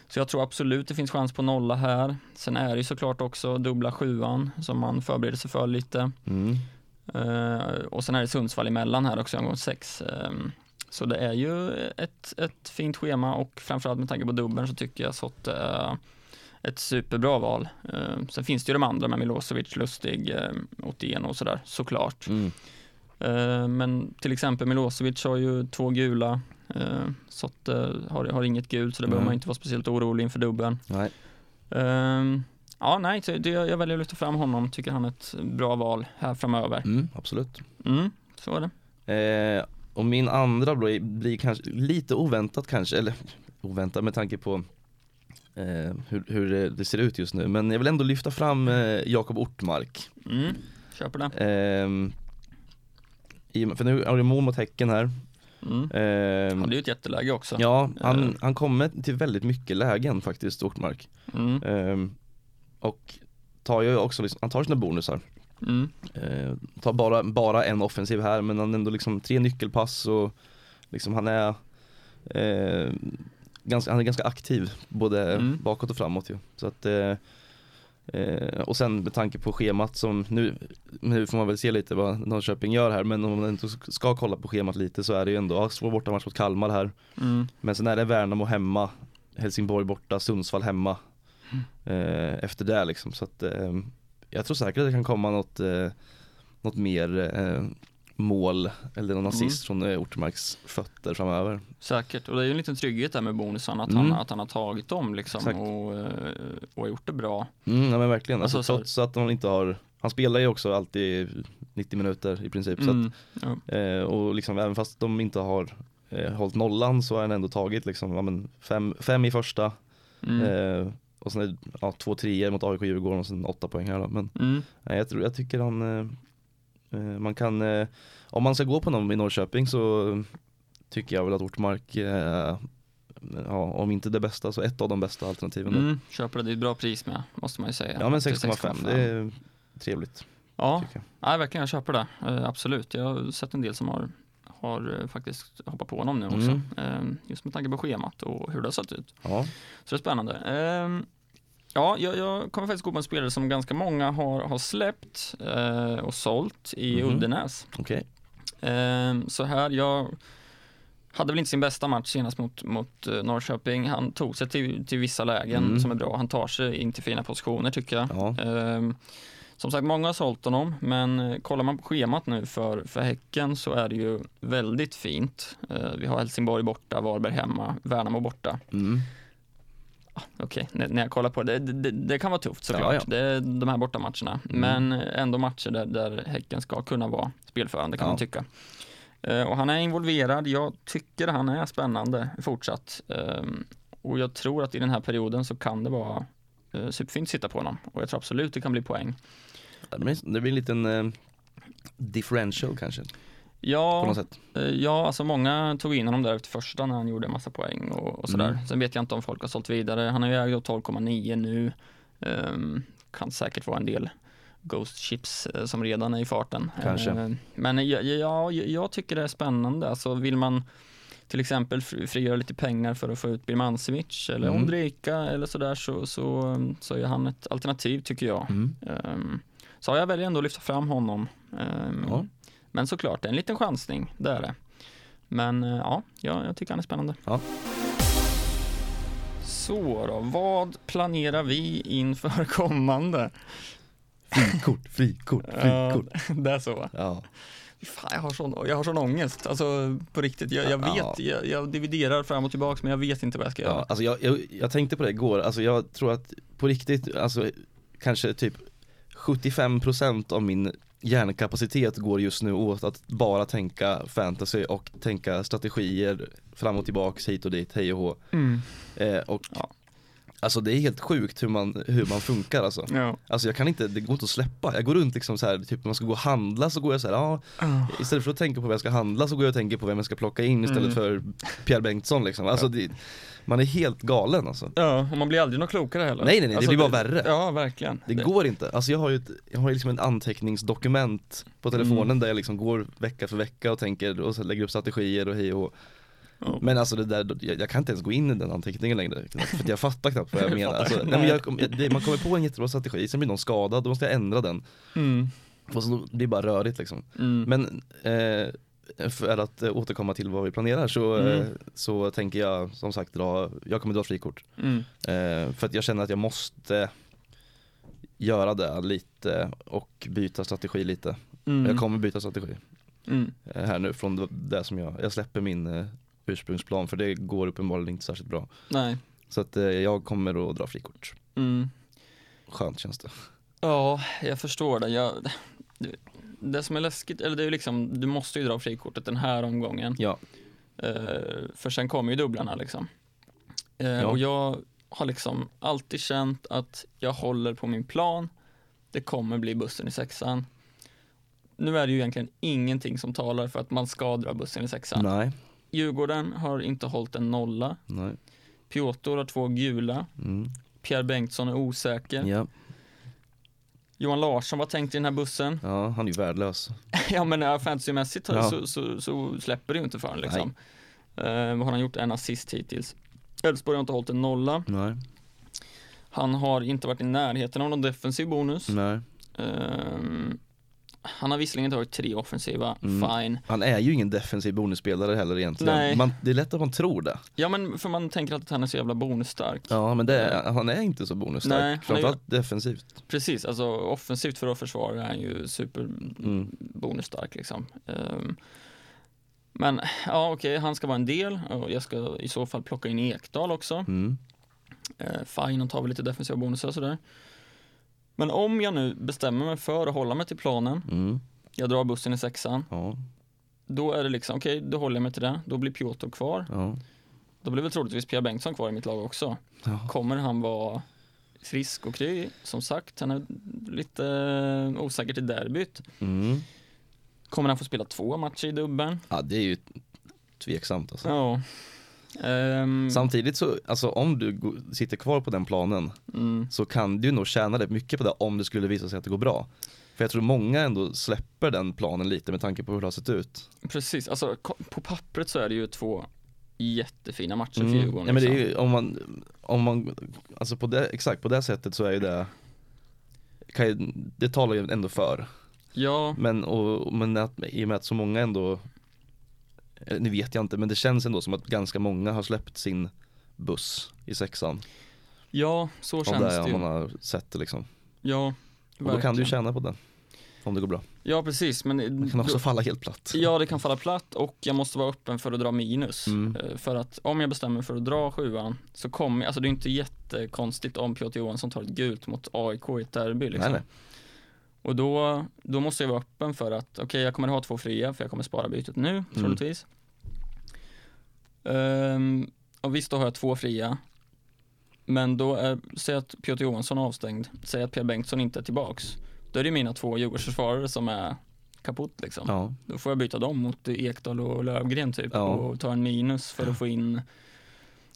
Speaker 3: Så jag tror absolut det finns chans på nolla här. Sen är det ju såklart också dubbla sjuan som man förbereder sig för lite.
Speaker 2: Mm.
Speaker 3: Eh, och sen är det Sundsvall emellan här också, omgång sex. Ehm, så det är ju ett, ett fint schema och framförallt med tanke på dubbeln så tycker jag så att det är ett superbra val. Ehm, sen finns det ju de andra med Milosevic, Lustig, eh, Otieno och sådär såklart.
Speaker 2: Mm.
Speaker 3: Eh, men till exempel Milosevic har ju två gula, eh, så att, eh, har, har inget gult så det behöver
Speaker 2: Mm.
Speaker 3: man inte vara speciellt orolig inför dubbeln.
Speaker 2: Nej.
Speaker 3: Ehm, ja, nej, så det, jag väljer att lyfta fram honom, tycker han är ett bra val här framöver.
Speaker 2: Mm. Absolut.
Speaker 3: Mm, så är det.
Speaker 2: Eh, och min andra blir, blir kanske lite oväntat kanske, eller oväntat med tanke på eh, hur, hur det- det ser ut just nu. Men jag vill ändå lyfta fram eh, Jakob Ortmark.
Speaker 3: Mm, köper det.
Speaker 2: Ehm, i, för nu har du mål mot Häcken här.
Speaker 3: Mm.
Speaker 2: Ehm,
Speaker 3: Ja, det är ju ett jätteläge också.
Speaker 2: Ja,
Speaker 3: Eh.
Speaker 2: han, han kommer till väldigt mycket lägen faktiskt, Ortmark.
Speaker 3: Mm,
Speaker 2: Ehm, och tar ju också, liksom, han tar sina bonusar.
Speaker 3: mm,
Speaker 2: Ehm, tar bara, bara en offensiv här, men han ändå liksom tre nyckelpass och liksom han är eh, ganska, han är ganska aktiv både
Speaker 3: Mm.
Speaker 2: bakåt och framåt ju. Så att eh, Eh, och sen med tanke på schemat som nu, nu får man väl se lite vad Norrköping gör här men om man ändå ska kolla på schemat lite så är det ju ändå, ja, svår bortamatch mot Kalmar här.
Speaker 3: Mm.
Speaker 2: Men sen är det Värnamo hemma, Helsingborg borta, Sundsvall hemma.
Speaker 3: Mm.
Speaker 2: Eh, efter det liksom så att eh, jag tror säkert att det kan komma något, eh, något mer eh, mål eller
Speaker 3: Mm.
Speaker 2: någon assist från eh, Ortmarks fötter framöver.
Speaker 3: Säkert, och det är ju en liten trygghet där med bonusen att,
Speaker 2: Mm.
Speaker 3: han, att han har tagit dem liksom
Speaker 2: Exakt.
Speaker 3: och, eh, och gjort det bra.
Speaker 2: Mm, ja men verkligen, alltså,
Speaker 3: Alltså, så-
Speaker 2: trots att han inte har han spelar ju också alltid 90 minuter i princip Typ så att
Speaker 3: Mm. Ja.
Speaker 2: Eh, och liksom även fast de inte har eh, hållit nollan så har han ändå tagit liksom, ja, men fem, fem i första
Speaker 3: Mm.
Speaker 2: eh, och sen är det, ja, två treor mot AIK Djurgården och sen åtta poäng här då. Men
Speaker 3: Mm.
Speaker 2: nej, jag, tror, jag tycker han, eh, eh, man kan, eh, om man ska gå på någon i Norrköping så eh, tycker jag väl att Ortmark, eh, ja, om inte det bästa så ett av de bästa alternativen. då.
Speaker 3: Mm. Köper det, det är ett bra pris med, måste man ju säga.
Speaker 2: Ja men
Speaker 3: Till
Speaker 2: 6,5 det är trevligt
Speaker 3: Ja,
Speaker 2: tycker jag.
Speaker 3: nej, verkligen jag köper det, eh, absolut. Jag har sett en del som har, har eh, faktiskt hoppat på honom nu också,
Speaker 2: Mm.
Speaker 3: eh, just med tanke på schemat och hur det har sett ut.
Speaker 2: Ja.
Speaker 3: Så det är spännande. Ehm, ja, jag, jag kommer faktiskt gå på en spelare som ganska många har, har släppt eh, och sålt i
Speaker 2: Mhm.
Speaker 3: Uddenäs.
Speaker 2: Okej.
Speaker 3: Ehm, så här, jag hade väl inte sin bästa match senast mot, mot eh, Norrköping. Han tog sig till, till vissa lägen
Speaker 2: Mm.
Speaker 3: som är bra. Han tar sig in till fina positioner tycker jag.
Speaker 2: Ja.
Speaker 3: Ehm, som sagt, många har sålt honom, men eh, kollar man på schemat nu för, för Häcken så är det ju väldigt fint. Eh, vi har Helsingborg borta, Varberg hemma, Värnamo borta.
Speaker 2: Mm.
Speaker 3: Okej, när- när jag kollar på det, det, det, det kan vara tufft såklart.
Speaker 2: Ja, Mm. ja.
Speaker 3: Det är de här bortamatcherna. Men ändå matcher där, där Häcken ska kunna vara spelförande kan
Speaker 2: Ja.
Speaker 3: man tycka. Eh, och han är involverad. Jag tycker han är spännande fortsatt. Ehm, och jag tror att i den här perioden så kan det vara uh, superfint att sitta på honom. Och jag tror absolut det kan bli poäng.
Speaker 2: Det blir- det blir en liten eh, differential kanske på
Speaker 3: Ja,
Speaker 2: något sätt.
Speaker 3: eh, ja, alltså många tog in honom där efter första när han gjorde en massa poäng och, och sådär.
Speaker 2: Mm.
Speaker 3: Sen vet jag inte om folk har sålt vidare. Han har ju ägt då 12,9 nu. Ehm, kan säkert vara en del Ghost Chips eh, som redan är i farten.
Speaker 2: Kanske.
Speaker 3: Ehm, men jag, jag, jag tycker det är spännande. Alltså vill man till exempel fr- frigöra lite pengar för att få ut Birmancevic eller
Speaker 2: Mm.
Speaker 3: Ondrejka eller sådär så, så, så är han ett alternativ tycker jag.
Speaker 2: Mm.
Speaker 3: Ehm, Så jag väljer ändå att lyfta fram honom. Ehm,
Speaker 2: Ja.
Speaker 3: Men såklart, det är en liten chansning, det är det. Men eh, ja, jag, jag tycker han är spännande.
Speaker 2: Ja.
Speaker 3: Så då, vad planerar vi inför [LAUGHS] kommande?
Speaker 2: Frikort, frikort, frikort.
Speaker 3: Eh, [LAUGHS] det är så va?
Speaker 2: Ja,
Speaker 3: Fan, jag, har sån, jag har sån ångest, alltså på riktigt. Jag, jag vet,
Speaker 2: Ja.
Speaker 3: jag, jag dividerar fram och tillbaks men jag vet inte vad jag ska
Speaker 2: ja.
Speaker 3: göra.
Speaker 2: Alltså jag, jag, jag tänkte på det igår, alltså jag tror att på riktigt, alltså kanske typ 75% av min hjärnkapacitet går just nu åt att bara tänka fantasy och tänka strategier fram och tillbaks, hit och dit, hej och hå.
Speaker 3: Mm.
Speaker 2: Eh, och
Speaker 3: Ja.
Speaker 2: Alltså det är helt sjukt hur man, hur man funkar alltså.
Speaker 3: Ja.
Speaker 2: Alltså jag kan inte, det går inte att släppa. Jag går runt liksom så här, typ när man ska gå och handla så går jag så här, ja
Speaker 3: Ah.
Speaker 2: Istället för att tänka på vem jag ska handla så går jag och tänker på vem jag ska plocka in istället
Speaker 3: Mm.
Speaker 2: för Pierre Bengtsson liksom. Alltså det, man är helt galen alltså.
Speaker 3: ja, och man blir aldrig något klokare heller. Alltså,
Speaker 2: Nej, nej, nej, det blir bara värre.
Speaker 3: Ja, verkligen.
Speaker 2: Det går inte. Alltså jag har ju ett, jag har ju liksom ett anteckningsdokument på telefonen
Speaker 3: Mm.
Speaker 2: där jag liksom går vecka för vecka och tänker och så lägger upp strategier och hej och hå.
Speaker 3: Ja.
Speaker 2: Men alltså det där, jag, jag kan inte ens gå in i den anteckningen
Speaker 3: [LAUGHS]
Speaker 2: längre. För att jag fattar knappt vad jag
Speaker 3: Jag
Speaker 2: menar.
Speaker 3: fattar.
Speaker 2: Alltså, nej, men jag, kom- jag- det, man kommer på en jättebra strategi, sen blir någon skadad, då måste jag ändra den.
Speaker 3: Mm.
Speaker 2: Och så blir det bara rörigt liksom.
Speaker 3: Mm.
Speaker 2: Men eh, för att eh, återkomma till vad vi planerar så, eh, så tänker jag som sagt dra, jag kommer dra frikort.
Speaker 3: Mm.
Speaker 2: Eh, för att jag känner att jag måste göra det lite och byta strategi lite.
Speaker 3: Mm.
Speaker 2: Jag kommer byta strategi
Speaker 3: Mm.
Speaker 2: eh, här nu från det- det som jag, jag släpper min eh, ursprungsplan för det går uppenbarligen inte särskilt bra.
Speaker 3: Nej.
Speaker 2: Så att eh, jag kommer att dra frikort.
Speaker 3: Mm.
Speaker 2: Skönt känns det.
Speaker 3: Ja, jag förstår det. Jag, det- det som är läskigt, eller det är ju liksom, du måste ju dra frikortet den här omgången.
Speaker 2: Ja.
Speaker 3: Eh, för sen kommer ju dubblarna liksom. Eh,
Speaker 2: Ja.
Speaker 3: Och jag har liksom alltid känt att jag håller på min plan. Det kommer bli bussen i sexan. Nu är det ju egentligen ingenting som talar för att man ska dra bussen i sexan.
Speaker 2: Nej.
Speaker 3: Djurgården har inte hållit en nolla.
Speaker 2: Nej.
Speaker 3: Piotr har två gula.
Speaker 2: Mm.
Speaker 3: Pierre Bengtsson är osäker.
Speaker 2: Ja.
Speaker 3: Johan Larsson, vad tänkte i den här bussen?
Speaker 2: ja, han är ju värdelös.
Speaker 3: Ja men ja, fantasymässigt
Speaker 2: Ja.
Speaker 3: så, så, så släpper det ju inte för honom liksom. Eh, vad har han gjort? En assist hittills. Elfsborg har inte hållit en nolla.
Speaker 2: Nej.
Speaker 3: Han har inte varit i närheten av någon defensiv bonus.
Speaker 2: Nej.
Speaker 3: Ehm, han har visserligen tagit tre offensiva,
Speaker 2: Mm.
Speaker 3: fine.
Speaker 2: Han är ju ingen defensiv bonusspelare heller egentligen.
Speaker 3: Nej.
Speaker 2: Man, det är lätt att man tror det.
Speaker 3: Ja men för man tänker alltid att han är så jävla bonusstark.
Speaker 2: Ja men det är, Eh, han är inte så bonusstark.
Speaker 3: Nej, han är-
Speaker 2: Framförallt defensivt.
Speaker 3: Precis, alltså offensivt för att försvara är han ju
Speaker 2: Mm.
Speaker 3: superbonusstark liksom. Ehm, men ja okej, han ska vara en del och jag ska i så fall plocka in Ekdal också.
Speaker 2: Mm.
Speaker 3: Eh, fine, han tar väl lite defensiva bonusar och sådär. Men om jag nu bestämmer mig för att hålla mig till planen,
Speaker 2: Mm.
Speaker 3: jag drar bussen i sexan,
Speaker 2: Ja,
Speaker 3: då är det liksom okej, då håller jag mig till det, då blir Piotr kvar.
Speaker 2: ja.
Speaker 3: Då blir väl troligtvis Pia Bengtsson kvar i mitt lag också.
Speaker 2: ja.
Speaker 3: Kommer han vara frisk och kry? Som sagt, han är lite eh, osäker till derbyt.
Speaker 2: Mm.
Speaker 3: Kommer han få spela två matcher i dubben?
Speaker 2: ja det är ju tveksamt alltså.
Speaker 3: Ja. Ehm,
Speaker 2: Samtidigt så, alltså om du go- sitter kvar på den planen
Speaker 3: mm,
Speaker 2: så kan du nog tjäna rätt mycket på det om det skulle visa sig att det går bra. För jag tror många ändå släpper den planen lite med tanke på hur det har sett ut.
Speaker 3: precis, alltså ko- på pappret så är det ju två jättefina matcher för
Speaker 2: Mm.
Speaker 3: Djurgården.
Speaker 2: Ja, men det är
Speaker 3: liksom.
Speaker 2: ju, om man, om man, alltså på det, exakt på det sättet så är ju det, kan ju, det talar ju ändå för.
Speaker 3: ja
Speaker 2: Men, och, men att, i och med att så många ändå, eller nu vet jag inte, men det känns ändå som att ganska många har släppt sin buss i sexan.
Speaker 3: Ja, så
Speaker 2: Om
Speaker 3: känns
Speaker 2: det
Speaker 3: det,
Speaker 2: är,
Speaker 3: ju.
Speaker 2: om man har sett det liksom.
Speaker 3: Ja,
Speaker 2: Och då kan du
Speaker 3: verkligen.
Speaker 2: ju tjäna på det. Om det går bra.
Speaker 3: Ja, precis. Men
Speaker 2: Det kan också falla helt platt.
Speaker 3: ja, det kan falla platt och jag måste vara öppen för att dra minus.
Speaker 2: Mm.
Speaker 3: Eh, För att om jag bestämmer mig för att dra sjuan så kommer, alltså det är inte jättekonstigt om Piotr Johansson tar ett gult mot AIK i ett derby liksom.
Speaker 2: Nej, nej.
Speaker 3: Och då, då måste jag vara öppen för att, okej jag kommer ha två fria för jag kommer spara bytet
Speaker 2: Mm.
Speaker 3: nu troligtvis. Ehm, och visst då har jag två fria. Men då, är, säg att Piotr Johansson är avstängd, säg att Pia Bengtsson inte är tillbaks. Då är det mina två Djurgårdsförsvarare som är kaputt liksom.
Speaker 2: Ja,
Speaker 3: Då får jag byta dem mot Ekdal och Lövgren typ
Speaker 2: Ja.
Speaker 3: och ta en minus för att få in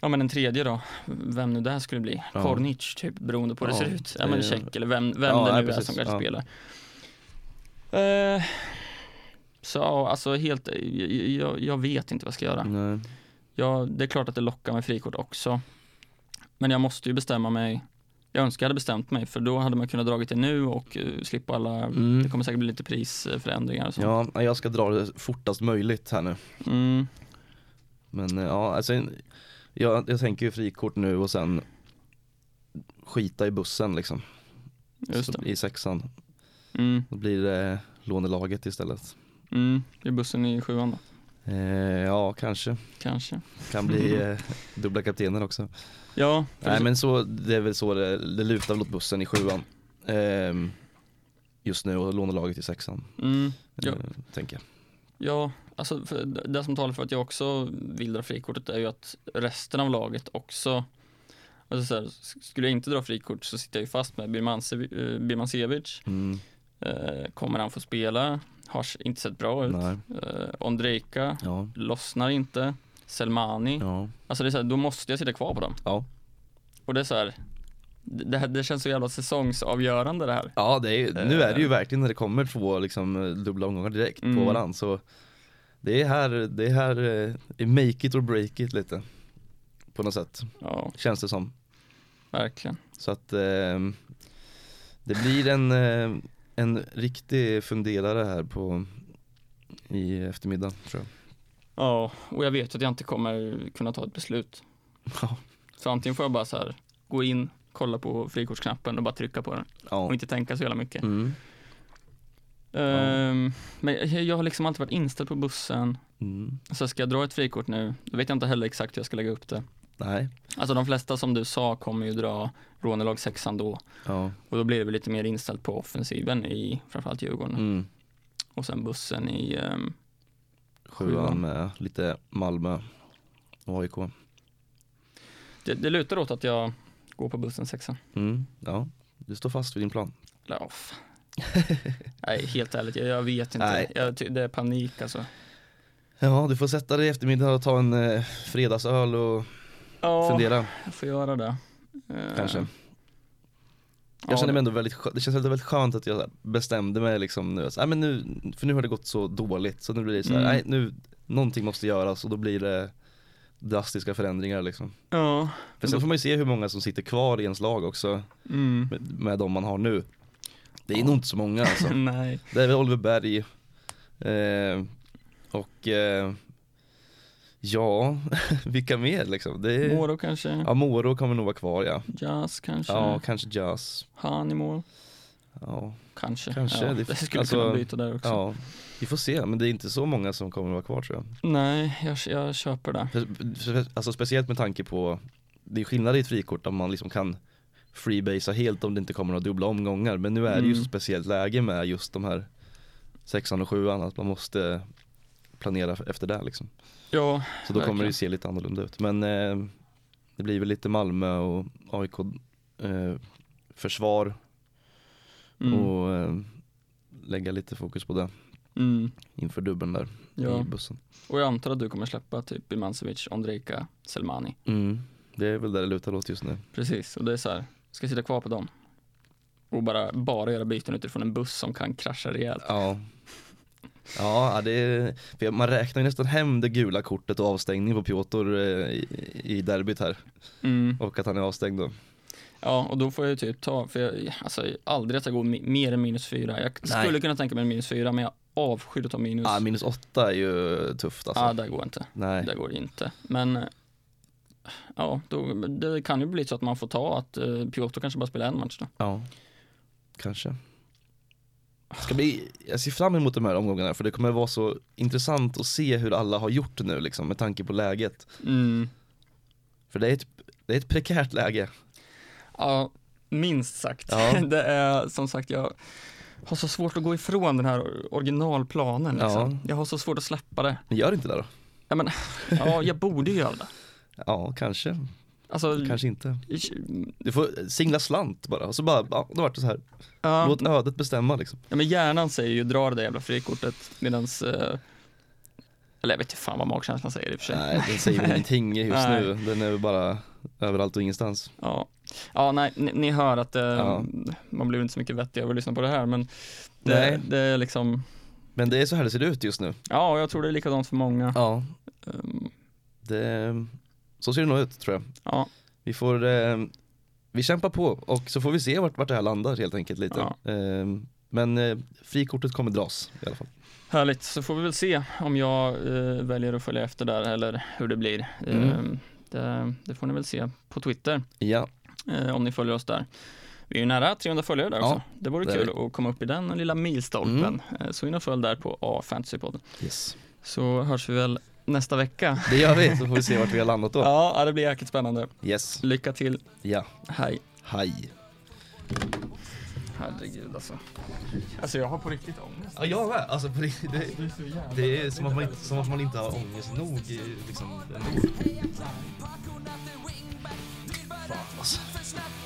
Speaker 3: Ja men en tredje då, vem nu det här skulle bli.
Speaker 2: Ja.
Speaker 3: Kornic typ, beroende på hur det
Speaker 2: Ja,
Speaker 3: ser ut. Ja
Speaker 2: det
Speaker 3: men
Speaker 2: är-
Speaker 3: Tjeck eller vem, vem
Speaker 2: Ja,
Speaker 3: det
Speaker 2: nej,
Speaker 3: nu är
Speaker 2: precis.
Speaker 3: som kanske
Speaker 2: Ja.
Speaker 3: spelar. Eh, så ja, alltså helt, jag, jag, jag vet inte vad jag ska göra.
Speaker 2: nej.
Speaker 3: Jag, det är klart att det lockar med frikort också. Men jag måste ju bestämma mig. Jag önskar jag hade bestämt mig för då hade man kunnat dragit det nu och eh, slippa alla,
Speaker 2: Mm.
Speaker 3: det kommer säkert bli lite prisförändringar och så.
Speaker 2: Ja, jag ska dra det fortast möjligt här nu.
Speaker 3: Mm.
Speaker 2: Men eh, ja, alltså jag, jag tänker ju frikort nu och sen skita i bussen liksom.
Speaker 3: Just
Speaker 2: Så
Speaker 3: det.
Speaker 2: I sexan.
Speaker 3: Mm,
Speaker 2: Då blir det lånelaget istället.
Speaker 3: mm. Det är bussen i sjuan då,
Speaker 2: Eh, ja, kanske.
Speaker 3: kanske.
Speaker 2: Kan
Speaker 3: [LAUGHS]
Speaker 2: bli eh, dubbla kaptener också.
Speaker 3: Ja, för
Speaker 2: Nej
Speaker 3: det-
Speaker 2: men så, det är väl så det, det lutar väl åt bussen i sjuan. Ehm, just nu och lånelaget i sexan.
Speaker 3: mm, Ja.
Speaker 2: Eh, tänker jag.
Speaker 3: ja alltså för det det som talar för att jag också vill dra frikortet är ju att resten av laget också Alltså så här, s- skulle jag inte dra frikort så sitter jag ju fast med Birmanse- eh, Birmancevic.
Speaker 2: Mm,
Speaker 3: Eh, kommer han få spela? Har s- inte sett bra ut.
Speaker 2: nej,
Speaker 3: Eh, Ondrejka
Speaker 2: ja,
Speaker 3: lossnar inte. Selmani.
Speaker 2: ja,
Speaker 3: Alltså det är så här, då måste jag sitta kvar på dem.
Speaker 2: ja.
Speaker 3: Och det är så här, det, det, här, det känns så jävla säsongsavgörande det här.
Speaker 2: Ja det är, ju- nu är det ju verkligen när det kommer två liksom, eh, dubbla omgångar direkt på
Speaker 3: Eh. Mm.
Speaker 2: varandra så det är här, det är här, eh, det är make it or break it lite på något sätt
Speaker 3: Ja,
Speaker 2: känns det som.
Speaker 3: verkligen.
Speaker 2: Så att ehm, det blir en, eh, en riktig funderare här på i eftermiddag tror jag. [LAUGHS]
Speaker 3: Ja, och jag vet att jag inte kommer kunna ta ett beslut.
Speaker 2: Ja.
Speaker 3: Så antingen får jag bara så här, gå in, kolla på frikortsknappen och bara trycka på den
Speaker 2: Ja.
Speaker 3: och inte tänka så jävla mycket.
Speaker 2: Mm.
Speaker 3: Ehm, men jag- jag har liksom alltid varit inställd på bussen.
Speaker 2: Mm.
Speaker 3: Så ska jag dra ett frikort nu, då vet jag inte heller exakt hur jag ska lägga upp det.
Speaker 2: Nej.
Speaker 3: Alltså de flesta som du sa kommer ju dra rånelag sexan då
Speaker 2: Ja.
Speaker 3: och då blir det väl lite mer inställt på offensiven i framförallt Djurgården
Speaker 2: Mm.
Speaker 3: och sen bussen i ehm,
Speaker 2: Sjuan
Speaker 3: Sjuan.
Speaker 2: med lite Malmö och AIK.
Speaker 3: det, det lutar åt att jag går på bussen sexan.
Speaker 2: Mm. Ja, du står fast vid din plan.
Speaker 3: Eller ja, fan. Nej, helt ärligt, jag, jag vet
Speaker 2: Nej.
Speaker 3: inte. Jag, ty- det är panik alltså.
Speaker 2: Ja, du får sätta dig i eftermiddag och ta en eh, fredagsöl och
Speaker 3: Ja,
Speaker 2: fundera
Speaker 3: jag får göra det. Eh,
Speaker 2: kanske. Jag
Speaker 3: ja,
Speaker 2: känner mig ändå väldigt, skö- det känns väldigt skönt att jag bestämde mig liksom nu, att, nej, men nu, för nu har det gått så dåligt så nu blir det så här,
Speaker 3: Mm.
Speaker 2: nej nu, någonting måste göras och då blir det, drastiska förändringar liksom.
Speaker 3: Ja,
Speaker 2: För sen får man ju se hur många som sitter kvar i ens lag också
Speaker 3: mm. [LAUGHS]
Speaker 2: med, med de man har nu. Det är nog inte så många alltså.
Speaker 3: nej.
Speaker 2: Det är väl Oliver Berg eh, och eh, ja, [LAUGHS] vilka mer liksom? Det är,
Speaker 3: Moro kanske,
Speaker 2: ja, Moro kommer nog vara kvar ja.
Speaker 3: Jazz kanske,
Speaker 2: Ja, kanske Jazz.
Speaker 3: Han i mål,
Speaker 2: Ja,
Speaker 3: kanske.
Speaker 2: Kanske,
Speaker 3: ja,
Speaker 2: det-
Speaker 3: det, skulle
Speaker 2: alltså,
Speaker 3: kunna byta där också.
Speaker 2: ja, vi får se men det är inte så många som kommer vara kvar tror jag.
Speaker 3: Nej, jag, jag köper det.
Speaker 2: För, för, alltså speciellt med tanke på Det är skillnad i ett frikort om man liksom kan freebasea helt om det inte kommer några dubbla omgångar men nu är det ju så
Speaker 3: Mm.
Speaker 2: speciellt läge med just de här sexan och sjuan att man måste planera efter det liksom.
Speaker 3: Ja,
Speaker 2: Så då kommer
Speaker 3: Verkligen.
Speaker 2: det ju se lite annorlunda ut men eh, det blir väl lite Malmö och AIK eh, försvar
Speaker 3: mm,
Speaker 2: och eh, lägga lite fokus på det
Speaker 3: mm,
Speaker 2: inför dubben där i
Speaker 3: ja.
Speaker 2: bussen.
Speaker 3: Och jag antar att du kommer släppa typ Imancevic, Ondrejka, Selmani.
Speaker 2: Mm. Det är väl där det lutar åt just nu.
Speaker 3: Precis, och det är så här, ska jag sitta kvar på dem? Och bara, bara göra byten utifrån en buss som kan krascha rejält.
Speaker 2: Ja [LAUGHS] Ja, ja, det är, för man räknar ju nästan hem det gula kortet och avstängning på Piotr eh, i, i derbyt här
Speaker 3: Mm.
Speaker 2: och att han är avstängd då.
Speaker 3: Ja, och då får jag ju typ ta, för jag, alltså, aldrig att jag går mi- mer än minus fyra. Jag
Speaker 2: Nej.
Speaker 3: skulle kunna tänka mig en minus fyra, men jag avskyr att ta minus.
Speaker 2: Ja, minus åtta är ju tufft alltså.
Speaker 3: Ja, där går inte.
Speaker 2: Nej.
Speaker 3: Där går det inte. Men eh, ja, då, det kan ju bli så att man får ta att eh, Piotr kanske bara spelar en match då.
Speaker 2: Ja, kanske. Det Ska bli, jag ser fram emot de här omgångarna för det kommer vara så intressant att se hur alla har gjort nu liksom med tanke på läget.
Speaker 3: Mm.
Speaker 2: För det är ett, det är ett prekärt läge.
Speaker 3: Ja, minst sagt.
Speaker 2: Ja.
Speaker 3: [LAUGHS] Det är som sagt, jag har så svårt att gå ifrån den här originalplanen. Liksom.
Speaker 2: Ja.
Speaker 3: Jag har så svårt att släppa det.
Speaker 2: Men gör inte det då?
Speaker 3: Ja, men, ja jag borde ju göra det.
Speaker 2: Ja, kanske.
Speaker 3: Alltså,
Speaker 2: Kanske inte. Mm. Du får singla slant bara och så bara, ja, då vart det så här.
Speaker 3: ja.
Speaker 2: Låt ödet bestämma liksom.
Speaker 3: Ja, men hjärnan säger ju dra det där jävla frikortet medans eh, eller jag vet inte fan vad magkänslan säger i och för sig.
Speaker 2: Nej, den [LAUGHS] säger väl ingenting just
Speaker 3: Nej.
Speaker 2: nu. Den är väl bara överallt och ingenstans.
Speaker 3: Ja. ja, nej, ni, ni hör att eh,
Speaker 2: Ja.
Speaker 3: man blir inte så mycket vettig av att lyssna på det här men det,
Speaker 2: Nej.
Speaker 3: det är liksom,
Speaker 2: Men det är så här det ser ut just nu.
Speaker 3: ja och jag tror det är likadant för många.
Speaker 2: Ja.
Speaker 3: Ehm,
Speaker 2: Det, så ser det nog ut tror jag.
Speaker 3: Ja.
Speaker 2: Vi får, eh, vi kämpar på och så får vi se vart, vart det här landar helt enkelt lite.
Speaker 3: Ja.
Speaker 2: Eh, men eh, frikortet kommer dras i alla fall.
Speaker 3: Härligt, så får vi väl se om jag eh, väljer att följa efter där eller hur det blir.
Speaker 2: Mm.
Speaker 3: Ehm, det, det får ni väl se på Twitter
Speaker 2: Ja,
Speaker 3: eh, om ni följer oss där. Vi är ju nära 300 följare där
Speaker 2: Ja,
Speaker 3: också. Det vore
Speaker 2: det är Mm.
Speaker 3: kul att komma upp i den lilla milstolpen. Eh, Så in och följ där på A-fantasypodden.
Speaker 2: yes.
Speaker 3: Så hörs vi väl nästa vecka.
Speaker 2: det gör vi så får vi se vart vi har landat då.
Speaker 3: Ja, ja, det blir jäkligt spännande.
Speaker 2: Yes,
Speaker 3: Lycka till.
Speaker 2: ja,
Speaker 3: Hej.
Speaker 2: hej.
Speaker 3: Herregud alltså. Alltså jag har på riktigt ångest.
Speaker 2: Ja jag med, alltså på riktigt. det,
Speaker 3: är så jävla...
Speaker 2: det är som att, man inte, som att man inte har ångest nog i, liksom. ändå.
Speaker 1: Packorna till wingback, dyrbarare
Speaker 2: Fan, alltså.
Speaker 1: för snabbt